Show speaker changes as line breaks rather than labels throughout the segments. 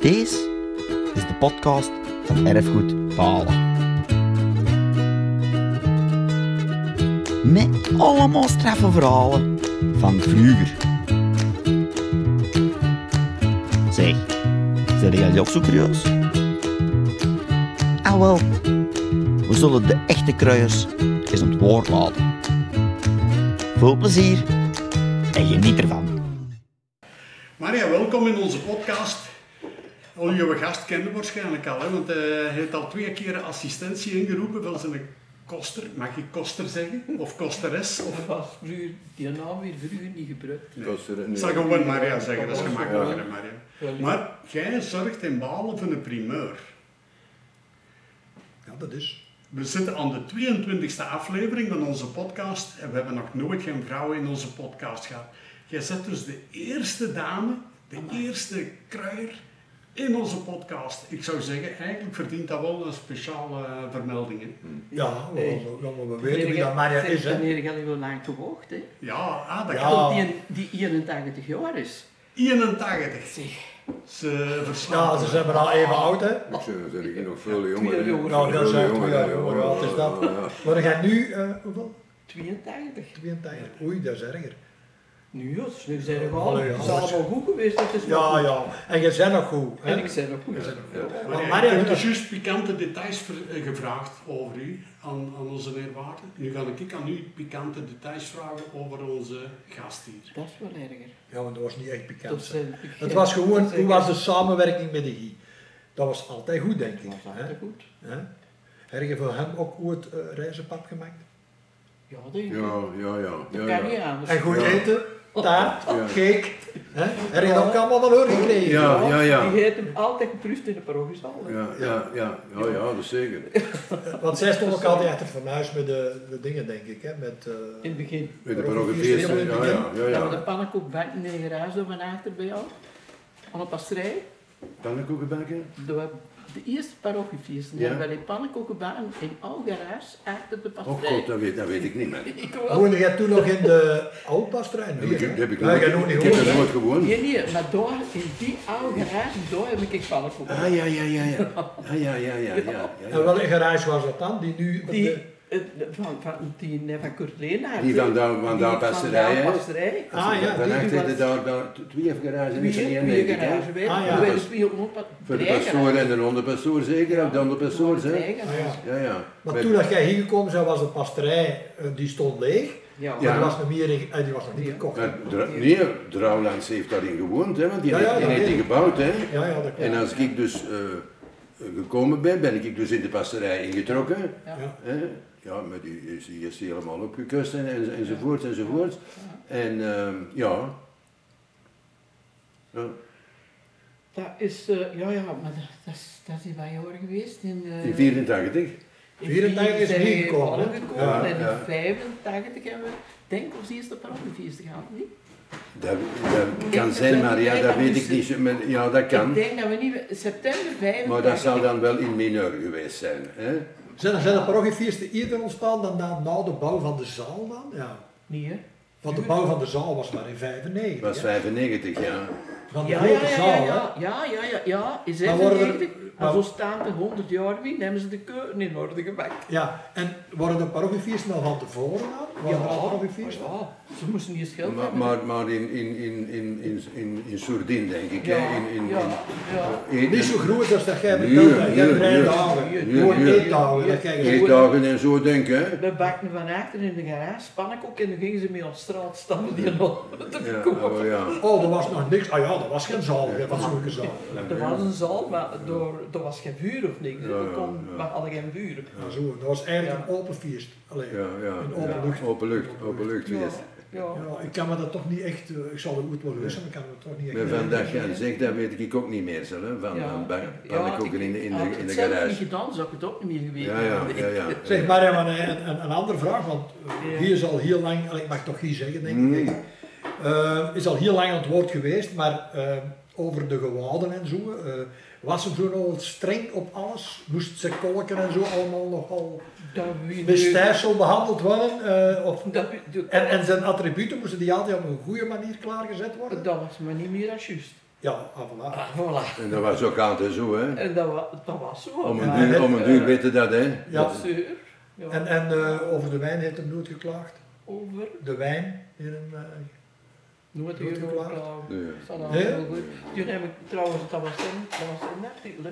Deze is de podcast van Erfgoed Palen. Met allemaal straffe verhalen van vroeger. Zeg, zijn jullie ook zo curieus? Ah wel, we zullen de echte kruiers eens aan het woord laten. Veel plezier en geniet ervan.
Maria, welkom in onze podcast. Al jouw gast kende waarschijnlijk al, hè, want eh, hij heeft al twee keer assistentie ingeroepen van zijn koster. Mag ik koster zeggen? Of kosteres? Of...
Dat was vroeger, die naam weer vroeger niet gebruikt.
Ik zal gewoon Maria zeggen, dat is gemakkelijker, hè, Maria. Maar jij zorgt in Balen voor een primeur.
Ja, dat is.
We zitten aan de 22e aflevering van onze podcast en we hebben nog nooit geen vrouw in onze podcast gehad. Jij zet dus de eerste dame, de eerste kruier in onze podcast. Ik zou zeggen, eigenlijk verdient dat wel een speciale eh, vermelding. Hè?
Ja, wel, wel, wel, we weten wie dat Maria is, hè.
Meneer Gelly wil lang gewoogd, hè.
Ja, ah, dat
Ja.
klopt.
Tot die, die 81 jaar is.
81.
Zeg,
Ze verslaan.
Ja, ze zijn maar al even oud, hè.
Ik zeg, er liggen nog veel jongeren.
Veel jongeren.
Nou, dat zijn
Veel
twee jaar jonger, ja, het is dat.
Ja, ja.
Maar jij nu, eh, hoeveel?
82.
82. Oei, dat is erger.
Nu, Jos, nu zijn we al.
Allee, ja.
Het is allemaal goed geweest, dat is
Ja,
nog goed.
ja. En jij bent nog goed, hè.
En ik zei nog goed.
Maar
Maar
ja,
Maria
ik heb
doet
dus
het.
juist pikante details ver- eh, gevraagd over u, aan, aan onze neerwaarde. Nu ga ik aan u pikante details vragen over onze gast hier.
Dat is wel erger.
Ja, want dat was niet echt pikant.
Dat
hè.
zijn-
Het was gewoon,
dat zijn-
hoe was de samenwerking met de Guy? Dat was altijd goed, denk ik.
Dat was
hè.
altijd goed.
Hè? Heb je voor hem ook ooit eh, reizenpap gemaakt?
Ja, denk ik.
Ja, ja, ja.
Dat
ja,
kan niet
ja.
anders.
En goed
Ja.
eten, taart,
Ja.
cake. Hè? Heb je dat ook allemaal van hoor gekregen?
Ja, ja, ja.
Die heeft hem altijd geproefd in de parochiezaal.
Ja, ja, ja, ja, ja, dat is zeker.
Want zij stond ook altijd achter van huis met de, de dingen, denk ik. Hè? Met, eh,
In het begin.
Met de parochieveesten, ja, ja, ja,
Ja, maar de
ja.
pannenkoek bakt in de garage van achter bij jou. Aan een pasterij.
Pannenkoekenbakken?
De, de eerste parochiefeest.
Ja.
Daar ben ik pannenkoeken baan in Algaraars achter de
Oh
pasterij.
god, dat weet, dat weet ik niet meer.
Ik wel.
Woonde jij toen nog in de Oudpastruin?
Heb ik, heb ik,
ja,
nooit,
jij nog niet
ik heb
gehoord.
dat nooit gewoond.
Nee, nee, maar daar, in die Algaraars, daar heb ik pannenkoeken.
Ah, ja, ja, ja, ja. Ah, ja, ja, ja, ja. ja,
En
ja.
welke garage was dat dan? Die nu... op
Die,
de-
eh, van, van, die eh, van Kurt Leenaert.
Die van daar- van daar
Die van
pasterij,
daar
hè?
pasterij.
Ah ja,
Dan
die-
echt
die
er
was-
daar, daar t- twee garages
Wie
in
geen
één
goede
denk ik, hè.
garage weet.
Ah, ja.
Er werden twee honderd
Voor de
drie
pastoor en de onderpastoor zeker, of de onderpastoor,
garage-
hè.
drie
Ah, ja.
garage.
Ja, ja.
Maar toen dat jij hier gekomen bent, was de pasterij, eh, die stond leeg.
Ja,
Maar
Ja.
die was, nog meer, in- eh, die was nog niet verkocht.
Ja, Dra- nee, Drouwlands heeft daarin gewoond, hè, want die
Ja,
heeft,
ja,
die,
dat
heeft die
weet
gebouwd. Hè.
Ja, ja, dat klopt.
En als ik dus eh, gekomen ben, ben ik dus in de pasterij ingetrokken.
Ja.
Ja.
Hè. Ja, maar die is, die is helemaal opgekust en, en, enzovoort enzovoort. En ehm, ja. ja.
Dat is, eh, ja, ja, maar dat, dat is, dat is in mijn jaar geweest. In, eh,
In 84.
in
84 is
zijn we
niet gekomen, hè?
gekomen
Ja,
en in
ja.
85 hebben we, denk ik, ons eerste parallelfeest gehad, niet?
Dat, dat kan
Ik-
zijn, maar ja, dat
dat
weet
is-
ik niet. zo- maar Ja, dat
Ik
kan.
denk dat we niet, september 85.
Maar dat zou dan wel in mineur geweest zijn. Hè.
Zijn er, zijn er parochiefeesten eerder ontstaan dan na, na de bouw van de zaal dan? Ja.
Nee, hè?
Want de bouw van de zaal was maar in 95.
Het was
hè?
95, ja.
Van de
Ja, ja,
grote
ja,
zaal,
ja,
hè?
ja, ja, ja, ja, ja, in
Maar worden er-
96.
maar-
Als ons staande 100 jaar wien, hebben ze de keuken in orde gemaakt.
Ja, en waren de parochiefeesten al van tevoren aan? Waren er al
maar
parochiefeesten?
ja, ze moesten niet scheld
Maar,
hebben.
maar, maar in, in, in, in, in, in, in Sourdin, denk ik.
ja,
hè. In, in,
ja,
in- eh,
ja.
Eet-
Niet zo groot als dat jij
Nee,
vertelt. hè. Jij
nee,
hebt drie
nee.
dagen.
Nee,
Gewoon
nee.
één dagen. Dat jij gezegd.
Eetdagen en zo, denk hè?
We bakten van achter in de garage, pannenkoek, en dan gingen ze mee op straat stappen die nog te
Ja,
verkopen.
oh, ja.
Oh, er was nog niks. Ah ja, dat was geen zaal, geen fatsoenlijke zaal.
Er was een zaal, maar door, er was geen vuur of niks. hè.
Ja,
we,
ja,
kon,
ja.
we hadden geen vuur.
Ja, zo, dat was eigenlijk een open feest. Allee. Ja.
Ja, ja.
In openlucht.
Openlucht, openlucht,
Ja,
yes.
ja.
ik kan me dat toch niet echt, eh, ik zal er goed wel luisteren, maar ik kan me toch niet echt...
Maar van dat jij zegt, dat weet ik ook niet meer, zo, hè? Van,
Ja.
van ba-
Ja,
pannenkoeken in de, in
Had ik
de, in
het
de
zelf niet
garage.
gedaan, zou ik het ook niet meer geweten
Ja, ja,
hebben.
ja, ja.
Zeg maar een, een, een, een andere vraag, want eh,
Ja.
hier is al heel lang, allee, ik mag toch hier zeggen denk ik,
Mm.
denk ik. Eh, is al heel lang aan het woord geweest, maar eh, over de gewaden en zo, eh, was ze toen al streng op alles? Moest ze kolken en zo allemaal nogal
Dat we-
met stijfsel behandeld worden? eh, of,
Dat we-
en, en zijn attributen moesten die altijd op een goede manier klaargezet worden?
Dat was maar niet meer als juist.
Ja, ah, voilà.
Ah, voilà.
En dat was ook aan te zo, hè.
En dat, wa- dat was zo.
Om
ja.
een duur, om een duur weten dat, hè.
Ja.
Ja, zuur. Ja.
En, en eh, over de wijn heeft hem nooit geklaagd.
over.
De wijn in hem. eh,
Nooit
Nooit
euro
geklaagd?
klaar.
Nee.
Dat was
Nee?
heel goed. Toen heb ik trouwens, dat was een, dat was een artikel. hè.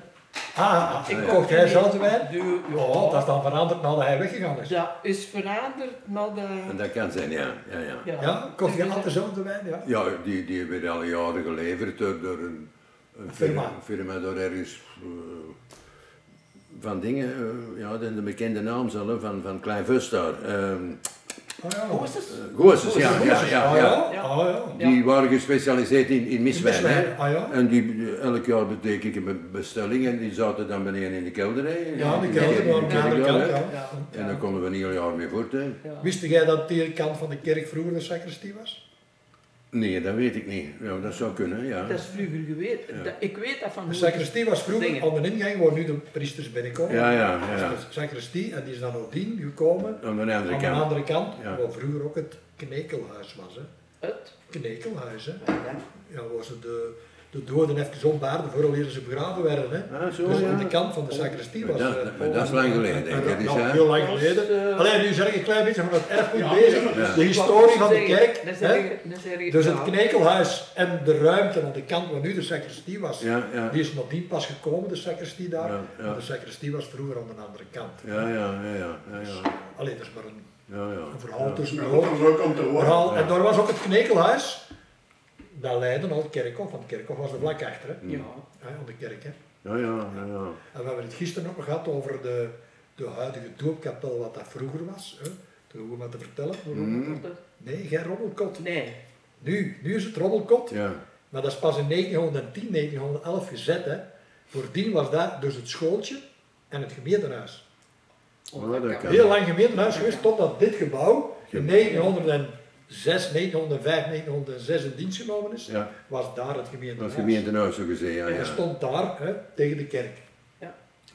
ah, ah,
Ik
ah,
kocht
kocht hij
die-
zelf de wijn?
die-
Ja,
ja,
dat is dan veranderd nadat hij weggegaan is. Ja,
Dat is veranderd, maar
En
dat...
dat kan zijn, ja. Ja, ja.
kocht hij
Dus,
altijd zelf de wijn? Ja.
ja die, die werden al jaren geleverd door, door een, een
Firma.
firma. firma door ergens eh, van dingen, eh, ja, de, de bekende naam zal, hè, van, van Klein Vustaar. ehm
Oh, ja.
Hoe is het?
Goossens, ja, ja, ja,
Ah,
ja.
ja. Ah, ja.
Die waren gespecialiseerd in, in miswijn.
Miswijn,
hè.
ah, ja.
En die, eh, elk jaar betekent ik een bestelling en die zaten dan beneden in de kelder. Hè.
Ja, de
In
kelder,
in de
ja, de kelder,
hè.
ja.
Ja.
En daar konden we een heel jaar mee voort. Hè.
Ja.
Wist jij dat die kant van de kerk vroeger de sacristie was?
Nee, dat weet ik niet. Ja, dat zou kunnen, ja.
Dat is vroeger geweest. Dat- ik weet dat van
De
hoe-
sacristie was vroeger
Dingen.
aan de ingang waar nu de priesters binnenkomen.
Ja, ja, ja.
Dat is de sacristie en die is dan nadien gekomen
Aan de andere
aan de
kant.
andere kant,
Ja.
waar vroeger ook het knekelhuis was. Hè.
Het.
Knekelhuis, hè. Ja, waar ze de, de doden even opbaarden vooraleer ze begraven werden. Hè.
Ah, zo,
dus
ja.
aan de kant van de sacristie
Maar
was...
dat-
eh,
maar dat is lang geleden, denk ik,
Ja,
dat is,
nog
hè.
heel lang
Dat is,
geleden.
eh,
Alleen nu zeg ik een klein beetje van het erfgoed
Ja,
bezig.
ja.
De historie van de
Wat moet ik
kerk.
zeggen? Dan
hè.
zeg ik- dan zeg ik-
Dus
ja.
het knekelhuis en de ruimte aan de kant waar nu de sacristie was,
Ja, ja.
die is nadien pas gekomen, de sacristie daar.
Ja, ja.
Maar De sacristie was vroeger aan de andere kant. Dus,
Ja, ja, ja, ja, ja, ja.
Alleen dat is maar een,
ja, ja.
een verhaal tussen
Maar
de
goed, dat is ook om te horen.
verhaal. En daar was ook het knekelhuis, dat leidde al het kerkhof, want het kerkhof was er vlak achter, hè?
Ja.
Ja, aan de kerk. Hè?
Ja, ja, ja, ja.
En we hebben het gisteren ook nog gehad over de, de huidige doopkapel, wat dat vroeger was. Hè? Toen hoeven we maar te vertellen. Nee, geen rommelkot.
Nee.
Nu, nu is het rommelkot.
Ja,
Maar dat is pas in 1910, 1911 gezet. Hè. Voordien was dat dus het schooltje en het gemeentehuis.
voilà, dat kan.
Heel lang gemeentehuis geweest totdat dit gebouw in 1906, 1905, 1906 in dienst genomen is.
Ja,
Was daar het
dat
gemeentehuis.
is gemeentehuis zo gezegd, ja,
En dat
ja.
stond daar hè, tegen de kerk.
Ja.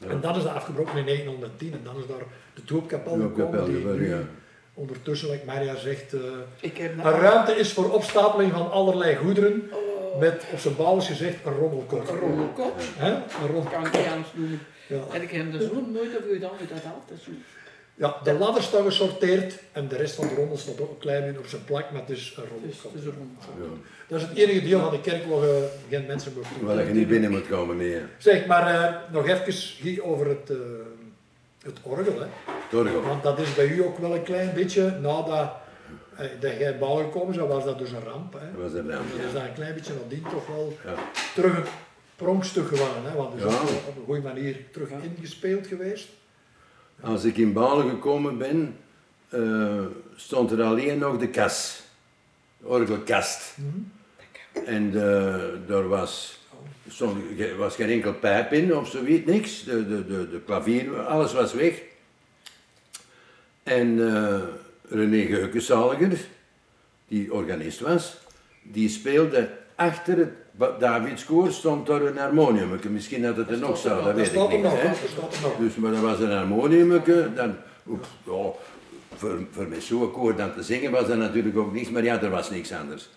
En dat is afgebroken in 1910 en dan is daar de doopkapel gekomen
Doopkapel,
die
ja.
nu ondertussen, like Maria zegt, eh,
Ik heb
een ruimte is voor opstapeling van allerlei goederen met, op zijn bouwens gezegd, een rommelkot.
Oh, een ronde kop.
Hè? Een rond-
Kan ik niet anders noemen.
Ja.
En ik heb er zo nooit over gedaan met dat af te zoeken.
ja, de ladder staat gesorteerd en de rest van de rommel staat ook een klein beetje op zijn plak, maar het is een
Dus
rommelkot.
het is een ronde kop.
Dat is het enige deel van de kerk waar je geen mensen mocht doen.
Waar je niet binnen moet komen, nee.
Zeg, maar eh, nog even hier over het, eh, het orgel. Hè.
Torgo.
Want dat is bij u ook wel een klein beetje, nadat eh, dat jij bouw gekomen zou, was dat dus een ramp. Hè.
Dat was een ramp,
Dat
ja.
is dan een klein beetje nadien toch wel
Ja.
terug een pronkstuk geworden. Hè? Want dus
Ja.
ook op een goede manier terug ingespeeld geweest.
Als ik in Balen gekomen ben, eh, stond er alleen nog de kas. De orgelkast. En eh, daar was, stond, ge- was geen enkel pijp in of zoiets, niks. De, de, de, de klavier, alles was weg. En eh, René Geukenzaliger, die organist was, die speelde achter het Ba- Davidskoor stond daar een harmonium. Misschien dat het er nog zou, dat
Dat
weet ik
staat er
niet.
nog,
hè.
dat staat er nog.
Dus, maar dat was een harmoniumke, dan, oep, ja, voor, voor met zo'n koor dan te zingen was dat natuurlijk ook niks, maar ja, er was niks anders.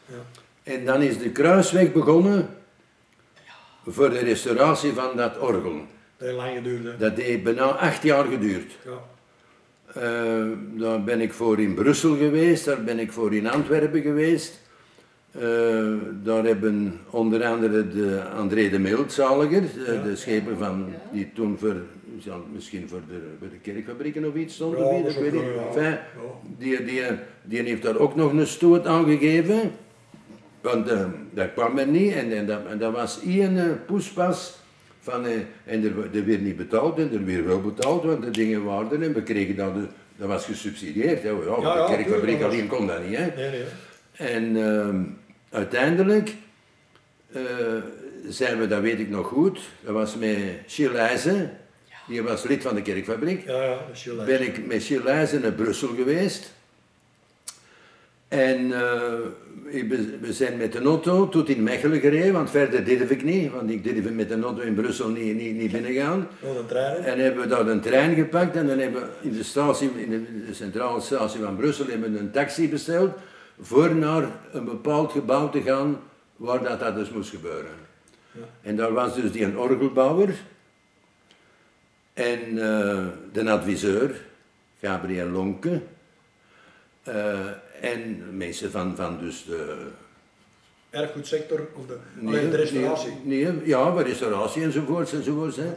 En dan is de kruisweg begonnen voor de restauratie van dat orgel.
Dat heeft lang geduurd. hè.
Dat heeft bijna acht jaar geduurd.
Ja.
Eh, daar ben ik voor in Brussel geweest, daar ben ik voor in Antwerpen geweest. Eh, daar hebben onder andere de André de Miltzaliger, de, de schepen van, die toen voor, ja, misschien voor de, voor de kerkfabrieken of iets stond,
Ja,
of
dat
iets,
is
ik weet
ook
niet.
wel, ja.
Enfin, die, die, die heeft daar ook nog een stoot aan gegeven. Want eh, dat kwam er niet en, en, dat, en dat was één eh, poespas van, eh, en er, wa- er werd niet betaald en er werd wel betaald, want de dingen waren er en we kregen dat, de- dat was gesubsidieerd. Hè. Ja,
ja,
de
tuurlijk,
kerkfabriek
dat was-
alleen kon dat niet. Hè.
Nee, nee.
En ehm, uiteindelijk eh, zijn we, dat weet ik nog goed, dat was met Chilijzen, die was lid van de kerkfabriek
Ja, ja, dat is heel erg.
ben ik met Chilijzen naar Brussel geweest. En eh, ik ben- we zijn met de auto tot in Mechelen gereden, want verder durf ik niet, want ik durf met de auto in Brussel niet, niet, niet binnengaan.
Nog een trein.
En hebben we daar een trein gepakt en dan hebben we in de, statie, in de, in de centrale statie van Brussel hebben we een taxi besteld voor naar een bepaald gebouw te gaan waar dat, dat dus moest gebeuren. En daar was dus die een orgelbouwer en eh, de adviseur, Gabriel Lonke. Eh, en mensen van, van dus de...
Erfgoedsector of de, alleen de restauratie.
Nee, nee, ja, de restauratie enzovoorts enzovoorts. Hè.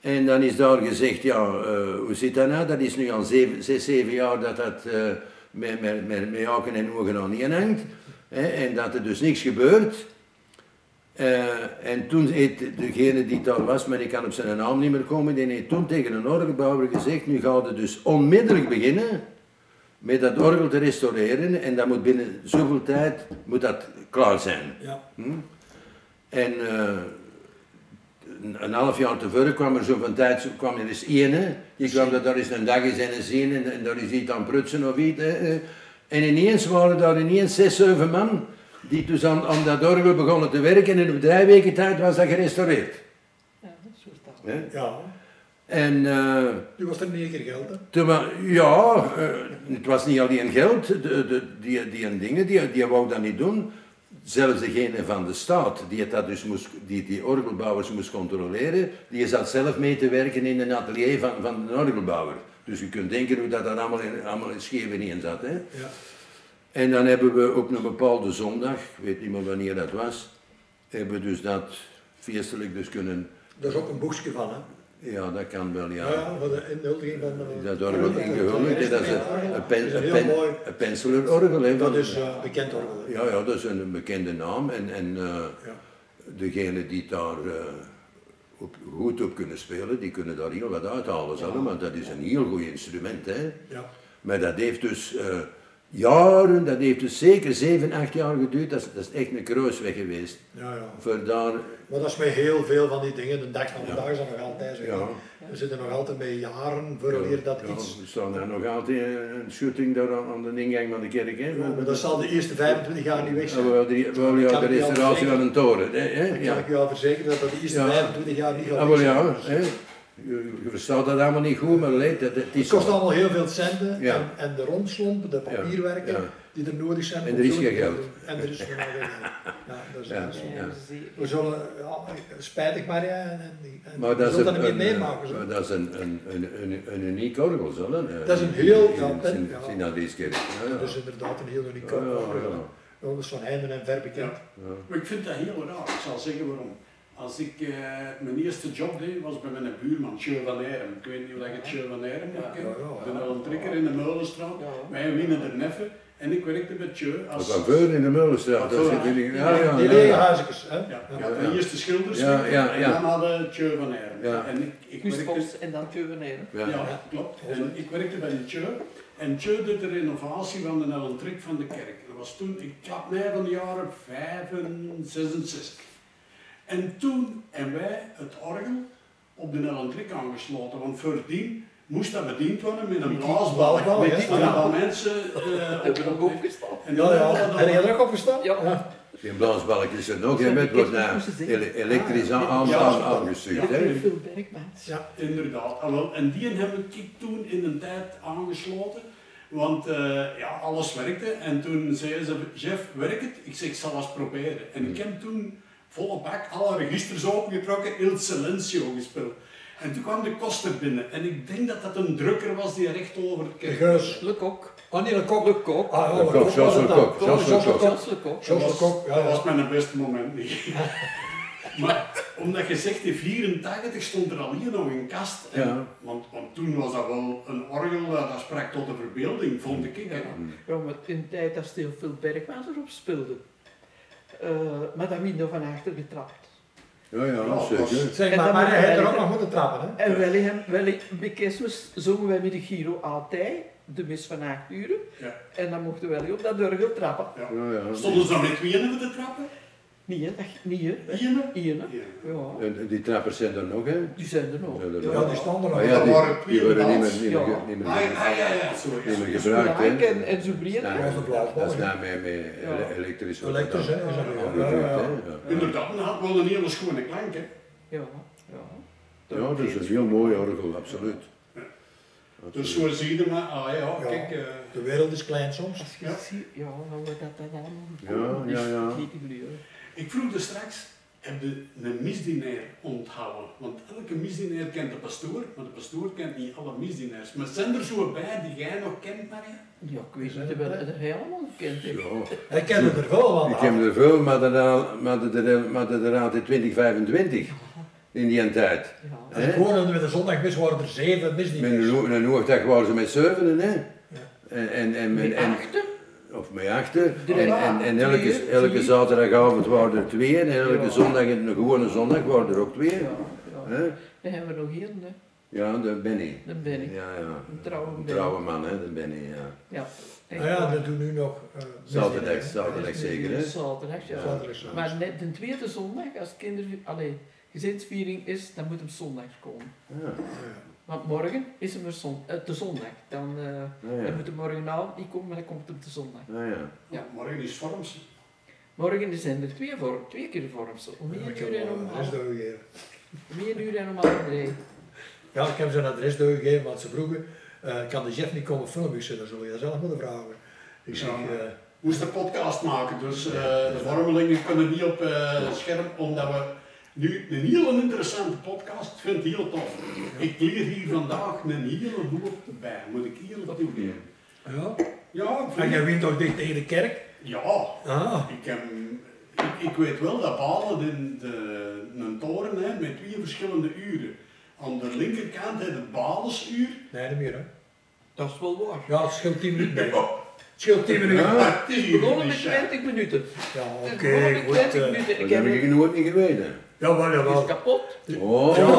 En dan is daar gezegd, ja, eh, hoe zit dat nou? Dat is nu al zeven, zes, zeven jaar dat dat eh, met, met, met, met haken en ogen aan hangt. Hè, en dat er dus niks gebeurt. Eh, en toen heeft degene die daar was, maar ik kan op zijn naam niet meer komen, die heeft toen tegen een orgelbouwer gezegd, nu gaat het dus onmiddellijk beginnen met dat orgel te restaureren en dat moet binnen zoveel tijd moet dat klaar zijn.
Ja.
Hm? En eh, een- een half jaar tevoren kwam er zo van tijd, zo kwam er eens één, hè. Die kwam dat daar eens een dag eens en eens zien en, en daar is iets aan prutsen of iets. hè, eh. En ineens waren daar ineens zes, zeven man die dus aan, aan dat orgel begonnen te werken en op drie weken tijd was dat gerestaureerd.
Ja, dat soort dingen.
Hè.
ja.
En... eh,
Nu was er in één keer geld, hè.
toen we- ja, eh, het was niet alleen geld, de, de, die, die en dingen, die, die wou dat niet doen. Zelfs degene van de staat, die, het dat dus moest, die die orgelbouwers moest controleren, die zat zelf mee te werken in een atelier van, van een orgelbouwer. Dus je kunt denken hoe dat daar allemaal in, allemaal in Scheveningen zat. Hè?
Ja.
En dan hebben we op een bepaalde zondag, ik weet niet meer wanneer dat was, hebben we dus dat feestelijk dus kunnen...
Daar is ook een boekje van, hè.
Ja, dat kan wel,
Ja, van de inhuldiging van... eh,
dat orgel ingehuldigd, hè, dat is een, een, pen,
Dat is
een,
heel
pen,
mooi.
een penselerorgel. hè, van-
Dat is eh, bekend orgel. hè.
ja, ja, dat is een bekende naam. En, en eh,
Ja.
degene die daar eh, op, goed op kunnen spelen, die kunnen daar heel wat uithalen. zullen, Want dat is een heel goed instrument. Hè.
Ja.
Maar dat heeft dus eh, jaren, dat heeft dus zeker 7, 8 jaar geduurd. Dat is, dat is echt een kruisweg geweest.
Ja, ja.
Voor daar,
Maar dat is met heel veel van die dingen. De dag van vandaag is dat nog altijd zo.
Ja.
We zitten nog altijd met jaren voor weer dat
Ja,
iets...
Er staat daar nog altijd eh, een schutting daar aan, aan de ingang van de kerk. Hè,
Ja, maar dat zal de eerste 25 jaar niet weg
Ja,
zijn.
we hadden die- we hadden ja,
Kan
de
ik niet
restauratie
anders
van een toren. Hè, hè?
Dat
Ja.
kan ik u al verzekeren dat dat de eerste
Ja.
25 jaar niet gaat
Ah,
weg
wel
zijn.
ja, hè? Je, je verstaat dat allemaal niet goed, maar leed, dat, dat is
Het kost
zo.
allemaal heel veel centen
Ja.
en, en de rondslompen, de papierwerken
Ja.
die er nodig zijn.
En
om
er is
zo'n-
geen geld.
En er is geen geld. Ja, dat is,
Ja.
dat is-
Ja, dat is die-
We zullen, ja, spijtig maar, ja, en, en, en
Maar
we
dat is
zullen dat
een,
niet meer
een, eh,
meemaken. zo.
maar dat is een, een, een, een, een uniek orgel, zo. hè?
Dat is een heel-
In-
ja,
in-
pen-
in-
ja.
in dat is kerk. Ja, ja.
Dat is Dus inderdaad een heel uniek
Ja, ja,
orgel.
ja.
Dat is van heinde en ver bekend.
Ja. Maar ik vind dat heel raar. Ik zal zeggen waarom. Als ik eh, mijn eerste job deed, was bij mijn buurman, Sjö van Erem. Ik weet niet of je het Sjö van Erem nog kent.
Ja, ja, ja.
De Nullentrikker in de Meulenstraat.
Ja.
Wij winnen er neffen. En ik werkte bij Sjö
Dat
als...
is Veur in de Meulenstraat. Dat zit in- ja, ja,
Die
ja,
lege
ja.
huizekes, hè?
Ja,
Ja.
ik had de
ja.
eerste schilders.
Ja, ja, ja.
En dan hadden Sjö van Erem.
Ja.
En ik, ik
Guus
werkte...
Vos en dan Teuveneren.
Ja.
Ja, klopt. En ik werkte bij de Tjeu. En Tjeu deed de renovatie van de Nellentrik van de kerk. Dat was toen, ik klap mij van de jaren 65. En toen hebben wij het orgel op de Nellentrik aangesloten. Want voordien moest dat bediend worden met een blaasbalk.
blaasbalk,
Met
hè?
die
Ja.
allemaal mensen eh,
Heb je nog opgestaan?
En
Ja,
dan
ja.
hadden we
Heb je
dat-
er ook op gestaan?
Ja.
Die blaasbalk is er nog, hè, met wordt nou ele- elektrisch aan, aan,
Ja.
aan- aangestuurd,
Ja.
hè.
Veel Bergmans.
Ja.
Inderdaad. Ah, wel, En die heb ik toen in een tijd aangesloten. Want eh, ja, alles werkte. En toen zei ze, Jeff, werkt het? Ik zeg, ik zal eens proberen. En ik heb toen volle bak alle registers opengetrokken, Il Silencio gespeeld. En toen kwam de koster binnen. En ik denk dat dat een drukker was die recht over de
De
kerk.
geus.
Le Kok.
Ah, nee, de kok.
Le Kok.
Ah,
De
ja,
kok, Jos de kok, Jos de
Jos de
kok.
kok.
Jos Le Kok.
Jos de
was-
kok, ja,
Dat
ja.
was mijn beste moment niet. maar omdat je zegt, in 84 stond er al hier nog een kast. En-
Ja.
want, want toen was dat wel een orgel, eh, dat sprak tot de verbeelding, vond ik. hè.
Ja. ja, maar in de tijd dat ze heel veel Bergmans erop speelde. Eh, maar dat window van achter getrapt.
Ja, ja,
Ja,
zeker.
was-
Zeg
En
maar,
dan
maar
moet
hij
je
heeft er ook
eigenlijk-
nog moeten trappen, hè?
En wel, hem- wel, bij kerstmis zongen wij met de Giro altijd, de mis van acht uren.
Ja.
En dan mochten wij op dat orgel trappen.
Ja, ja.
Stonden ze dan met tweeën op de trappen?
Nee, hè, dat, nee, hè.
Ieën?
Hier, hè.
Ja.
Ja,
En die trappers zijn er nog, hè.
die zijn er nog.
Ja, dat-
Ja, die staan er nog.
Maar ja,
Dat
die,
waren
die worden niet meer,
tweeënhalf.
Ja.
niet meer, ge- niet meer,
Ah, ja, ah, ja, ja, zo
niet
is
meer
het.
gebruikt.
Spraak
hè.
en, en zo breed.
Ja,
hè.
Ja, dat
Dat is
blijft
daarmee met ele-
Ja.
elektrisch.
Elektrisch, hè, is dat weer. Ja, ja.
Ja,
Inderdaad, dat had wel een hele schone klank, hè.
Ja, ja.
Ja, dat is een heel mooi orgel, absoluut.
Dus zo zie je maar, ah ja,
Ja.
kijk, eh,
De wereld is klein soms.
Als je
Ja.
ziet, ja, dan wordt dat dan allemaal
Ja, ja, ja.
Niet te gluren.
ik vroeg er straks, heb je een misdinair onthouden. Want elke misdinair kent de pastoor, maar de pastoor kent niet alle misdinaires. Maar zijn er zo bij die jij nog kent, Maria?
Ja, ik weet niet, wel dat hij allemaal gekend heeft.
Ja.
Hij kende er veel van.
Ik heb er veel, maar dat al- maar dat er maar dat er altijd 20, 25 in die tijd.
Ja.
Als ik
Hè?
hoorde met de zondagmis waren er zeven
Met een,
misdieners.
ho- een hoogdag waren ze met zevenen, hè? En, en, en, en,
Met
en-
achten?
of met achten.
Drie,
En, en, en elke,
vier,
elke
vier.
zaterdagavond waren er twee. En elke
Ja.
zondag, een gewone zondag, waren er ook twee.
Ja, ja.
Hè?
Dan hebben we nog heel, hè.
Ja, dat ben ik.
Dan ben ik.
Ja, ja.
Een trouwe
Een
Benny.
trouwe man, hè? Dat ben ik, ja.
Ja.
Ah ja, dat doen nu nog. eh,
Zaterdag,
misdieners, hè.
zaterdag zeker, hè?
Zaterdag, ja.
Zaterdag s'avonds.
Maar net de tweede zondag, als kinder, allee, gezinsviering is, dan moet hem zondag komen.
Ja,
Want morgen is hem er zon, eh, de zondag. Dan, eh
ja,
dan
nou ja.
moet hem morgenavond niet komen, maar dan komt hem de zondag.
ja, ja.
Ja.
Morgen Oh, is Vorms.
Morgen zijn er twee, vorm, twee keer vormsel. Om
Ja, ik
1
heb
uur en
wel
om
een adres
half,
doorgegeven.
om één uur en om half drie.
Ja, ik heb zo'n adres doorgegeven, want ze vroegen, eh, kan de chef niet komen filmen? Ik zei, "Nou, dat zul je zelf moeten vragen. Ik zeg,
Ja.
eh,
moest een podcast maken, dus eh, de vormelingen kunnen niet op eh, scherm, omdat we nu een heel interessante podcast, ik vind het heel tof. Ik leer hier vandaag een hele hoop bij, moet ik eerlijk toegeven.
ja.
Ja, ik
En
vind-
jij wint ook dicht tegen de kerk?
ja,
Ah,
ik, heb, ik, ik weet wel dat Balen de, de, een toren heeft met twee verschillende uren. Aan de linkerkant heeft de Balesuur,
nee, niet meer hè.
Dat is wel waar.
Ja, het scheelt 10 minuten. nee. Het scheelt 10 minuten.
Ja.
maar het is
We
hier
begonnen
niet
met
zo.
20 minuten.
Ja,
We
oké,
begonnen met
goed.
20
eh,
minuten.
Dat
Ik
heb
heb
ik nooit niet geweten.
jawel,
het is
jawel.
kapot.
Oh,
Ja, de,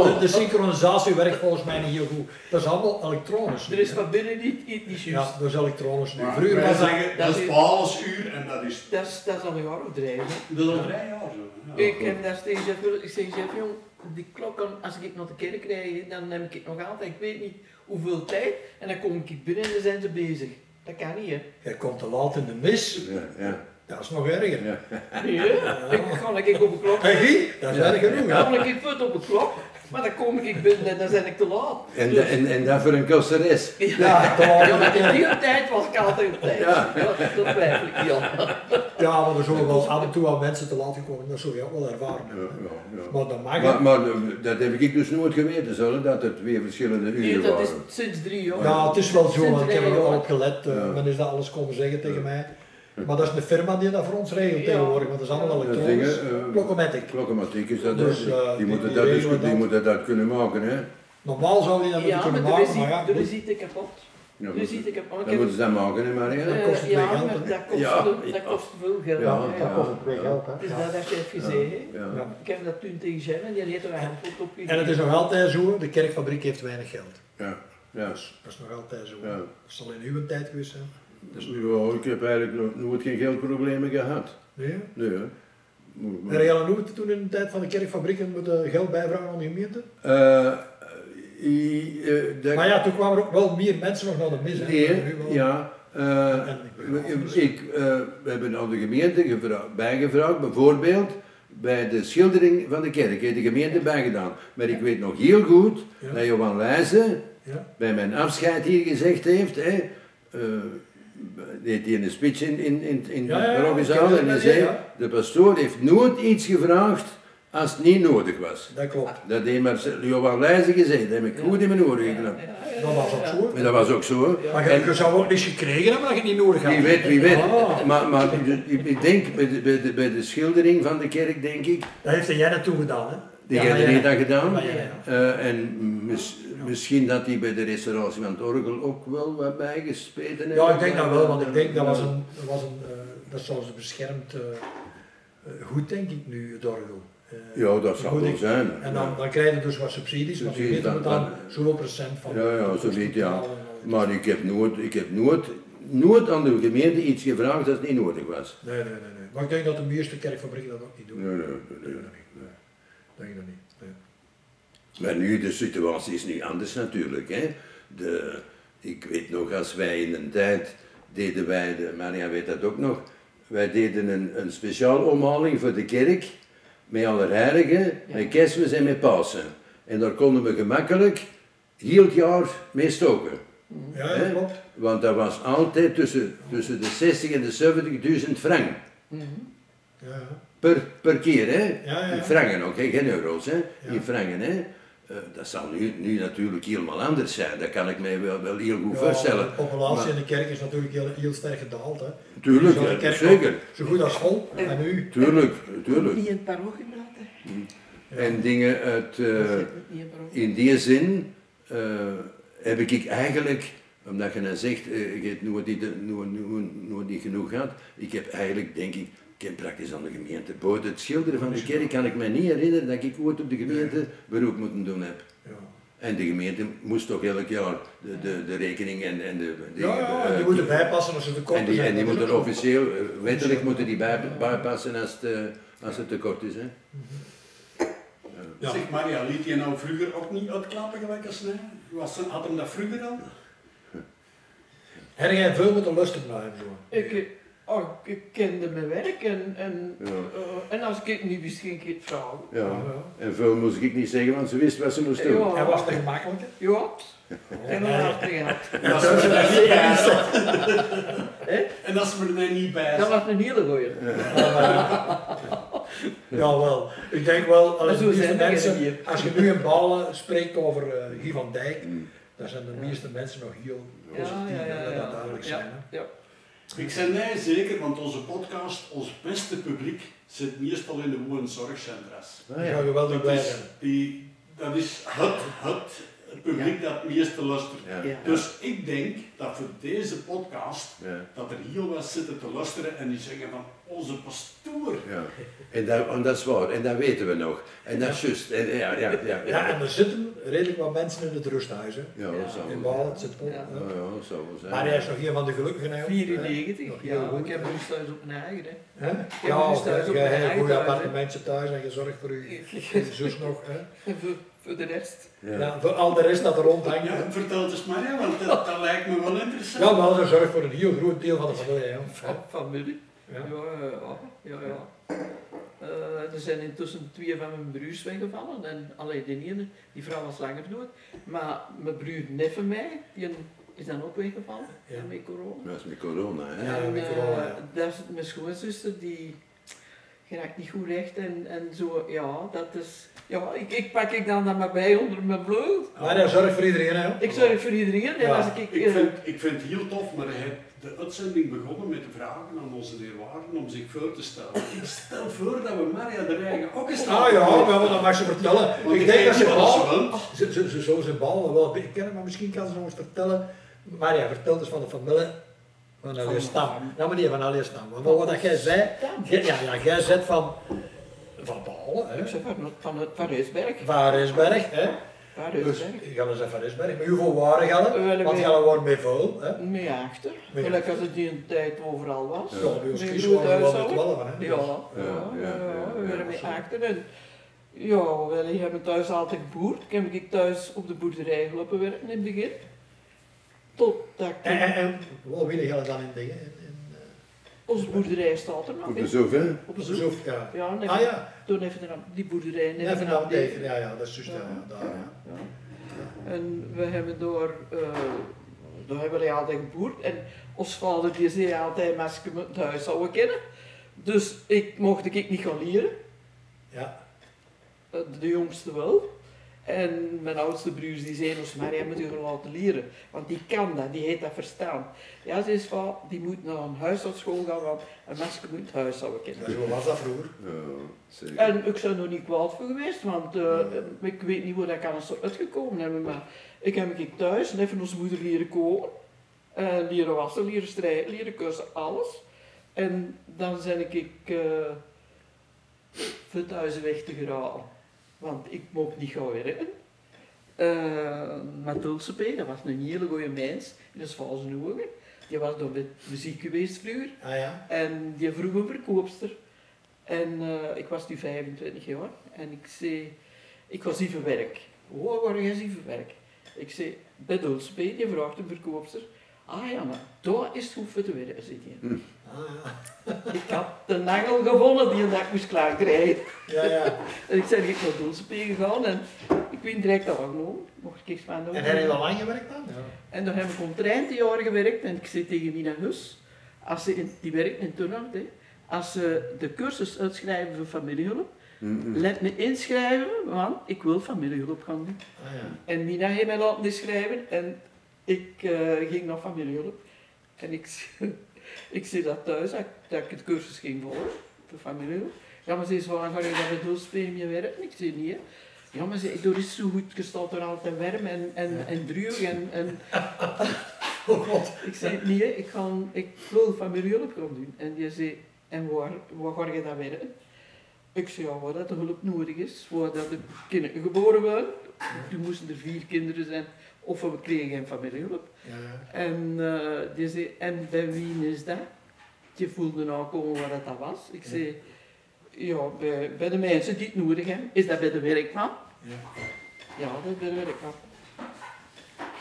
oh.
de synchronisatie werkt volgens mij niet heel goed. Dat is allemaal elektronisch. nu,
Er is
hè.
van binnen niet, niet, niet juist.
Ja, dat is elektronisch nu.
Maar
Vroeger
wij
was dat...
zeggen,
dat
dat is
is-
Balesuur en dat is,
Dat is, dat is al een jaar of drie. hè.
dat is al drie jaar zo. ja.
Ik heb daar steeds Jeff Willem- ik zeg Jeff jong, die klok, kan- als ik naar de kerk rijd, hè, dan heb ik het nog altijd, ik weet niet hoeveel tijd, en dan kom ik binnen en dan zijn ze bezig. Dat kan niet, hè?
Jij komt te laat in de mis.
Ja, ja.
Dat is nog erger.
Ja.
Nee, hè? Ik ga een keer op een klok.
Hé, Guy, dat is
Ja.
erg genoeg, hè?
Dan ga ik voet op een klok, maar dan kom ik binnen en dan ben ik te laat.
En, da- en, en dat voor een kosteres.
Ja, te
Ja,
laat in de
maar in
kerk.
die tijd was ik altijd op tijd. Ja. dat twijfel ik niet aan.
Ja, maar er zullen wel af en toe aan mensen te laat komen. Dat zul je ook wel ervaren
Ja,
hebben.
ja, ja.
Maar dat mag
Maar,
hè.
maar eh, dat heb ik dus nooit geweten, zo, dat er twee verschillende
Nee,
uren
dat is
waren.
sinds drie jaar.
Ja, het is wel zo, want ik heb er
Ja.
wel op gelet. eh,
Ja.
Men is dat alles komen zeggen tegen mij. Maar dat is de firma die dat voor ons regelt
Ja.
tegenwoordig, want dat is allemaal
Dat
Dat
elektronisch.
dingen, eh,
Klokkomatic.
Klokkenmatiek is dat
Dus,
dus.
eh,
die,
die-
moeten
die
dat dus,
regelen
die
dat.
moeten dat kunnen maken, hè?
Normaal zou die dat moeten
Ja,
kunnen
maar er is
maken,
iets-
maar ja,
er is
goed.
iets kapot.
Ja,
Er
moet-
is iets kapot. Ik
dan
heb-
moeten ze dat maken, hè, Maria?
Eh,
dat kost het
Dus ja,
weer geld,
maar
hè?
dat kost,
Ja,
veel-
ja.
dat kost veel geld.
Ja,
hè.
ja.
Dat kost het weer geld, hè.
Dus
Ja.
dat heb je even gezegd. hè.
Ja.
Ja.
Ik heb dat toen tegen Jem en die heeft er een antwoord op
En het is nog altijd zo, de kerkfabriek heeft weinig geld.
Ja. Ja.
Dat is nog altijd zo.
Ja.
Dat zal in uw tijd geweest zijn.
Dus nu, oh, ik heb eigenlijk nog nooit geen geldproblemen gehad.
Nee?
Nee, hè? Moet- moet-
En jij hoe toen in de tijd van de kerkfabrieken met eh, geld bijvragen aan de gemeente?
Eh, i- eh, dat-
Maar ja, toen kwamen er ook wel meer mensen nog naar de mis. hè. Nu
Nee,
wel.
ja. eh, we- ik, eh, we hebben aan de gemeente gevra- bijgevraagd, bijvoorbeeld bij de schildering van de kerk, heeft de gemeente bijgedaan. Maar ik weet nog heel goed
Ja.
dat Johan Leijzen
Ja.
bij mijn afscheid hier gezegd heeft, hè, eh, deed hij een speech in, in, in, in
Ja, ja, ja,
de
ik
Roggezaal
ken
en hij
dat,
zei,
ja.
de pastoor heeft nooit iets gevraagd als het niet nodig was.
Dat klopt.
Dat heeft maar Johan Leijzen gezegd, dat heb ik goed in mijn oren geknapt.
Dat was ook zo.
En dat was ook zo. hè.
Maar je,
En-
je zou ook niets gekregen hebben dat je het niet nodig had.
Wie weet, wie weet.
Ah.
Maar, maar ik- ik denk, bij de, bij, de, bij de schildering van de kerk, denk ik,
Dat heeft jij naartoe gedaan, hè?
die
Ja,
hebben
ja.
heeft dat gedaan.
Ja, ja, ja.
Eh, en mis- misschien dat die bij de restauratie van het orgel ook wel wat bijgespeten hebben.
Ja, ik denk dat wel, want ik denk dat was een, dat was een, eh, dat zouden ze beschermd, eh, eh, goed denk ik nu, het orgel. Eh,
Ja, dat zou
Moet
wel
ik-
zijn.
En dan, dan krijg je dus wat subsidies, want je
Subsidies,
weet er
dan-
dan zoveel procent van.
Ja, ja, zo
weet
weet ja. Maar ik heb nooit, ik heb nooit, nooit aan de gemeente iets gevraagd dat niet nodig was.
Nee, nee, nee, nee. Maar ik denk dat de meeste kerkfabrieken dat ook niet doen.
Nee, nee, nee,
Denk
nee.
dat niet. Nee. Denk dat niet. Nee.
Maar nu, de situatie is nu anders natuurlijk. Hè? De, ik weet nog, als wij in een tijd deden wij, de, Maria weet dat ook nog, wij deden een, een speciaal omhaling voor de kerk, met Allerheiligen, met kerstmis en met Pasen. En daar konden we gemakkelijk heel het jaar mee stoken.
Hm.
Ja,
Hè?
dat klopt.
Want dat was altijd tussen, tussen de 60 en de 70.000 frank.
Ja, ja.
Per, per keer, hè?
Ja, ja.
In frangen ook, hè? geen euro's, hè? in frangen. Hè? Eh, dat zal nu, nu natuurlijk helemaal anders zijn, dat kan ik mij wel, wel heel goed
Ja,
voorstellen.
De populatie
Maar-
in de kerk is natuurlijk heel, heel sterk gedaald. Hè.
Tuurlijk,
Zo de
ja,
kerk
zeker.
ook Zo goed als vol. En nu?
Tuurlijk, tuurlijk.
Niet in het parochie laten.
En dingen uit... eh,
Niet in het parochie.
in die zin eh, heb ik eigenlijk, omdat je dan zegt, eh, ik heb nooit niet, nooit, nooit, nooit niet genoeg gehad, ik heb eigenlijk, denk ik, ik heb praktisch aan de gemeente. Buiten het schilderen van de kerk kan ik me niet herinneren dat ik ooit op de gemeente beroep moeten doen heb.
Ja,
En de gemeente moest toch elk jaar de, de, de rekening en, en de... de
ja, ja
eh,
en die moeten bijpassen als ze te kort
en die,
zijn.
en die
Dat
moeten
is ook zo.
officieel, eh, wettelijk moeten die bij, bijpassen als het, eh, als het tekort is. Hè?
Ja.
Zeg Maria, liet je nou vroeger ook niet uitklappen gelijk als nee? Was, had hem dat vroeger al?
Heb jij veel moeten lusten naar hem? Zo.
Ik, eh, oh, ik kende mijn werk en, en,
Ja.
eh, en als ik het niet wist, ging ik het vragen.
Ja. En veel moest ik niet zeggen, want ze wist wat ze moest doen.
Ja.
Hij was te gemakkelijk.
Ja, en dan had ik het.
En als ze er niet bij zat.
Hè?
En als ze er niet bij
Dat
zat.
was een hele goeie.
Ja, wel. Ik denk wel,
zo
als, de meeste
zijn er
mensen,
hier.
als je nu in Balen spreekt over eh, Guy van Dijk,
Mm.
dan zijn de meeste mensen nog heel
Ja,
positief
ja, ja.
en dat dat
ja.
duidelijk
Ja,
zijn. hè.
ja.
Ik zei nee, zeker, want onze podcast, ons beste publiek, zit meestal in de woonzorgcentra's.
Ah,
Ik
ja.
zou geweldig
Dat
blij
is,
zijn.
die, dat is het, het publiek dat het meeste luistert.
Ja.
Ja.
Dus ik denk dat voor deze podcast,
Ja.
dat er heel wat zitten te luisteren en die zeggen van, onze pastoor.
Ja. En, dat, en dat is waar, en dat weten we nog. En dat is juist. En, ja, ja, ja,
Ja,
ja.
en er zitten redelijk wat mensen in het rusthuis. Hè.
Ja, dat zou
In
wel
Balen, het zit vol.
Ja.
hè.
zijn. Ja, dat zou wel zijn.
Maar hij is nog een van de gelukkigen. hè, ook.
94,
Nog
ja.
heel goed,
ik heb
hè.
een thuis op mijn eigen. Hè.
Hè?
Ja,
Ja,
dus thuis
jij
op
jij
mijn
hebt een
eigen
goed
thuis, hè.
appartementje thuis en je zorgt voor je, je zus nog. Hè?
En voor, voor de rest.
Ja.
Ja, voor al de rest dat er rondhangt. hè.
Ja, vertel het eens maar, ja, want dat, dat lijkt me wel interessant.
Ja, wel, ze zorgt voor een heel groot deel van de familie. hè.
Fa- Familie. Ja,
Ja.
ja, ja. ja, ja. Eh, er zijn intussen twee van mijn broers weggevallen. En alleen de ene, die vrouw was langer dood. Maar mijn broer neef van mij, die is dan ook weggevallen.
Ja.
Met corona.
Dat is met corona, hè?
Ja.
en
met
eh,
corona, ja.
daar is mijn schoonzuster, die geraakt niet goed recht. En, en zo, ja, dat is... Ja, ik, ik pak ik dan dat maar bij onder mijn vleugel.
Maar hij zorgt voor iedereen. Hè?
Ik zorg voor iedereen. En
Ja.
als ik...
Ik
eh,
vind, ik vind het heel tof, maar hij heeft de uitzending begonnen met de vragen aan onze neerwaarden om zich voor te stellen. Ik stel voor dat we Maria de Rijgen ook eens
Ah ja, maar dat mag ze vertellen.
Want
Ik denk dat ze
niet wat
bal,
woont.
ze, ze, ze zou ze bal wel be- kennen, maar misschien kan ze nog eens vertellen. Maar ja, vertel dus van de familie van Allee Stam. Ja, meneer van Allee Stam. Want wat dat jij zei, jij- ja, ja, jij zet van, van Balen,
Ik
hè.
zeg van, het- van, het- van Reesberg.
Van Risberg, hè.
Van
Dus,
Reesberg.
ik ga eens even van Risberg. Maar hoeveel waren gaan?
Wel,
Want
we-
gaan waren mee vol, hè.
Mee achter.
Mee
Gelijk als het die een tijd overal was.
Ja, bij ons
Mee
kies
goed
waren we wel met
huishouden.
twaalf, hè.
Ja,
Dus-
ja, ja,
ja,
ja, we
ja,
waren mee
zo.
achter. En, ja, wel, ik heb thuis altijd geboerd. Ik heb ik thuis op de boerderij gelopen werken in het begin. Totdat ik...
En, en, en wat willen jullie dan in dingen? In, in,
Onze boerderij staat er nog
Op
hè.
bezoek, hè?
Op
eh,
bezoek.
Zoef, ja.
Ja, en even,
Ah ja,
toen even naar die boerderij. en
even
naar
aan
die-
ja, ja, dat is juist, ja, ja, daar, ja.
En we hebben door, eh daar hebben wij altijd geboerd. En ons vader die zei altijd, maar als ik het huis zou kennen. Dus ik mocht ik niet gaan leren,
Ja,
eh, de jongste wel. En mijn oudste broers die zeiden ons, maar jij moet je gaan laten leren. Want die kan dat, die heeft dat verstaan. Ja, ze is van, die moet naar een huisartschool gaan, want een meisje moet het huis zouden kennen.
zo dus was dat vroeger.
Ja, zeker.
En ik zou er nog niet kwaad voor geweest, want eh, ik weet niet hoe dat kan zo uitgekomen hebben. Maar ik heb ik thuis en even onze moeder leren koken, eh, leren wassen, leren strijden, leren kussen, alles. En dan ben ik eh van thuis weg te geraden, want ik mocht niet gaan werken. Eh Mathilde P, dat was een hele goede mens, in is valse ogen. Die was dan met muziek geweest vroeger.
Ah ja.
En die vroeg een verkoopster. En eh, ik was nu 25 jaar. En ik zei, ik was even werk. Oh, waar is even werk? Ik zei, bij Dulspe, die vraagt een verkoopster. Ah ja, maar daar is het goed voor te werken, zei die.
Ah,
Ik had de nagel gevonden die dat ik moest klaarkrijgen.
ja. ja, ja.
En ik ben naar Dulspe gegaan en ik ben direct aangenomen. Mocht ik iets van doen.
En heb je al lang gewerkt dan? Ja.
En daar heb ik om 30 jaar gewerkt en ik zei tegen Mina Hus, als ze in, die werkt in Turnhout, hè, als ze de cursus uitschrijven voor familiehulp, let me inschrijven, want ik wil familiehulp gaan doen.
Ah, ja.
En Mina heeft mij laten inschrijven en ik eh, ging naar familiehulp. En ik, zie- ik zie dat thuis, dat, ik- dat ik het cursus ging volgen voor familiehulp. Ja, maar ze is waar ga je dat met hulpspeelmje werken? Ik zei niet, hè. Ja, maar ze, door is zo goed, je staat er altijd warm en, en, en droog en, en
Oh god.
ik zei, nee, ik, ga, ik wil familiehulp gaan doen. En die zei, en waar, waar ga je dat werken? Ik zei, ja, waar dat de hulp nodig is, waar dat de kinderen geboren waren. Toen moesten er vier kinderen zijn, of we kregen geen familiehulp.
Ja, ja.
En eh, die zei, en bij wie is dat? Je voelde aankomen waar dat dat was. Ik zei, ja, bij, bij de mensen die het nodig hebben. Is dat bij de werkman?
Ja.
Ja, dat is bij de werkman.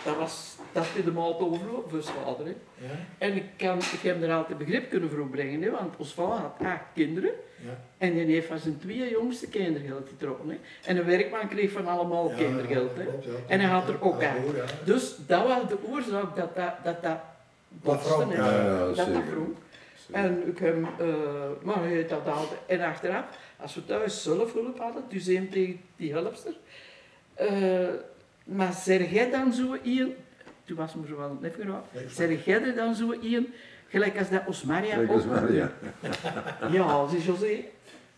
Dat was, dat in de maat overloop voor zijn vader. hè.
Ja.
En ik, kan, ik heb er altijd begrip kunnen voor opbrengen, hè, want ons vader had acht kinderen.
Ja.
En die heeft van zijn twee jongste kindergeld getrokken. Hè. En een werkman kreeg van allemaal kindergeld. Hè.
klopt, ja.
En hij had er ook
Ja,
aan.
goed, ja.
Dus dat was de oorzaak dat dat, dat, dat botste.
wrong,
hè.
ja,
ja,
dat dat
zeker.
wrong.
Zeker.
En ik heb, eh, maar hij heeft dat altijd. En achteraf, als we thuis zelf hulp hadden, dus één tegen die helpster. eh, maar zeg jij dan zo iemand, toen was me zo wel net geraakt, zeg jij er dan zo iemand, gelijk als dat Osmaria
Kijk eens maar, ja.
ja, zei José,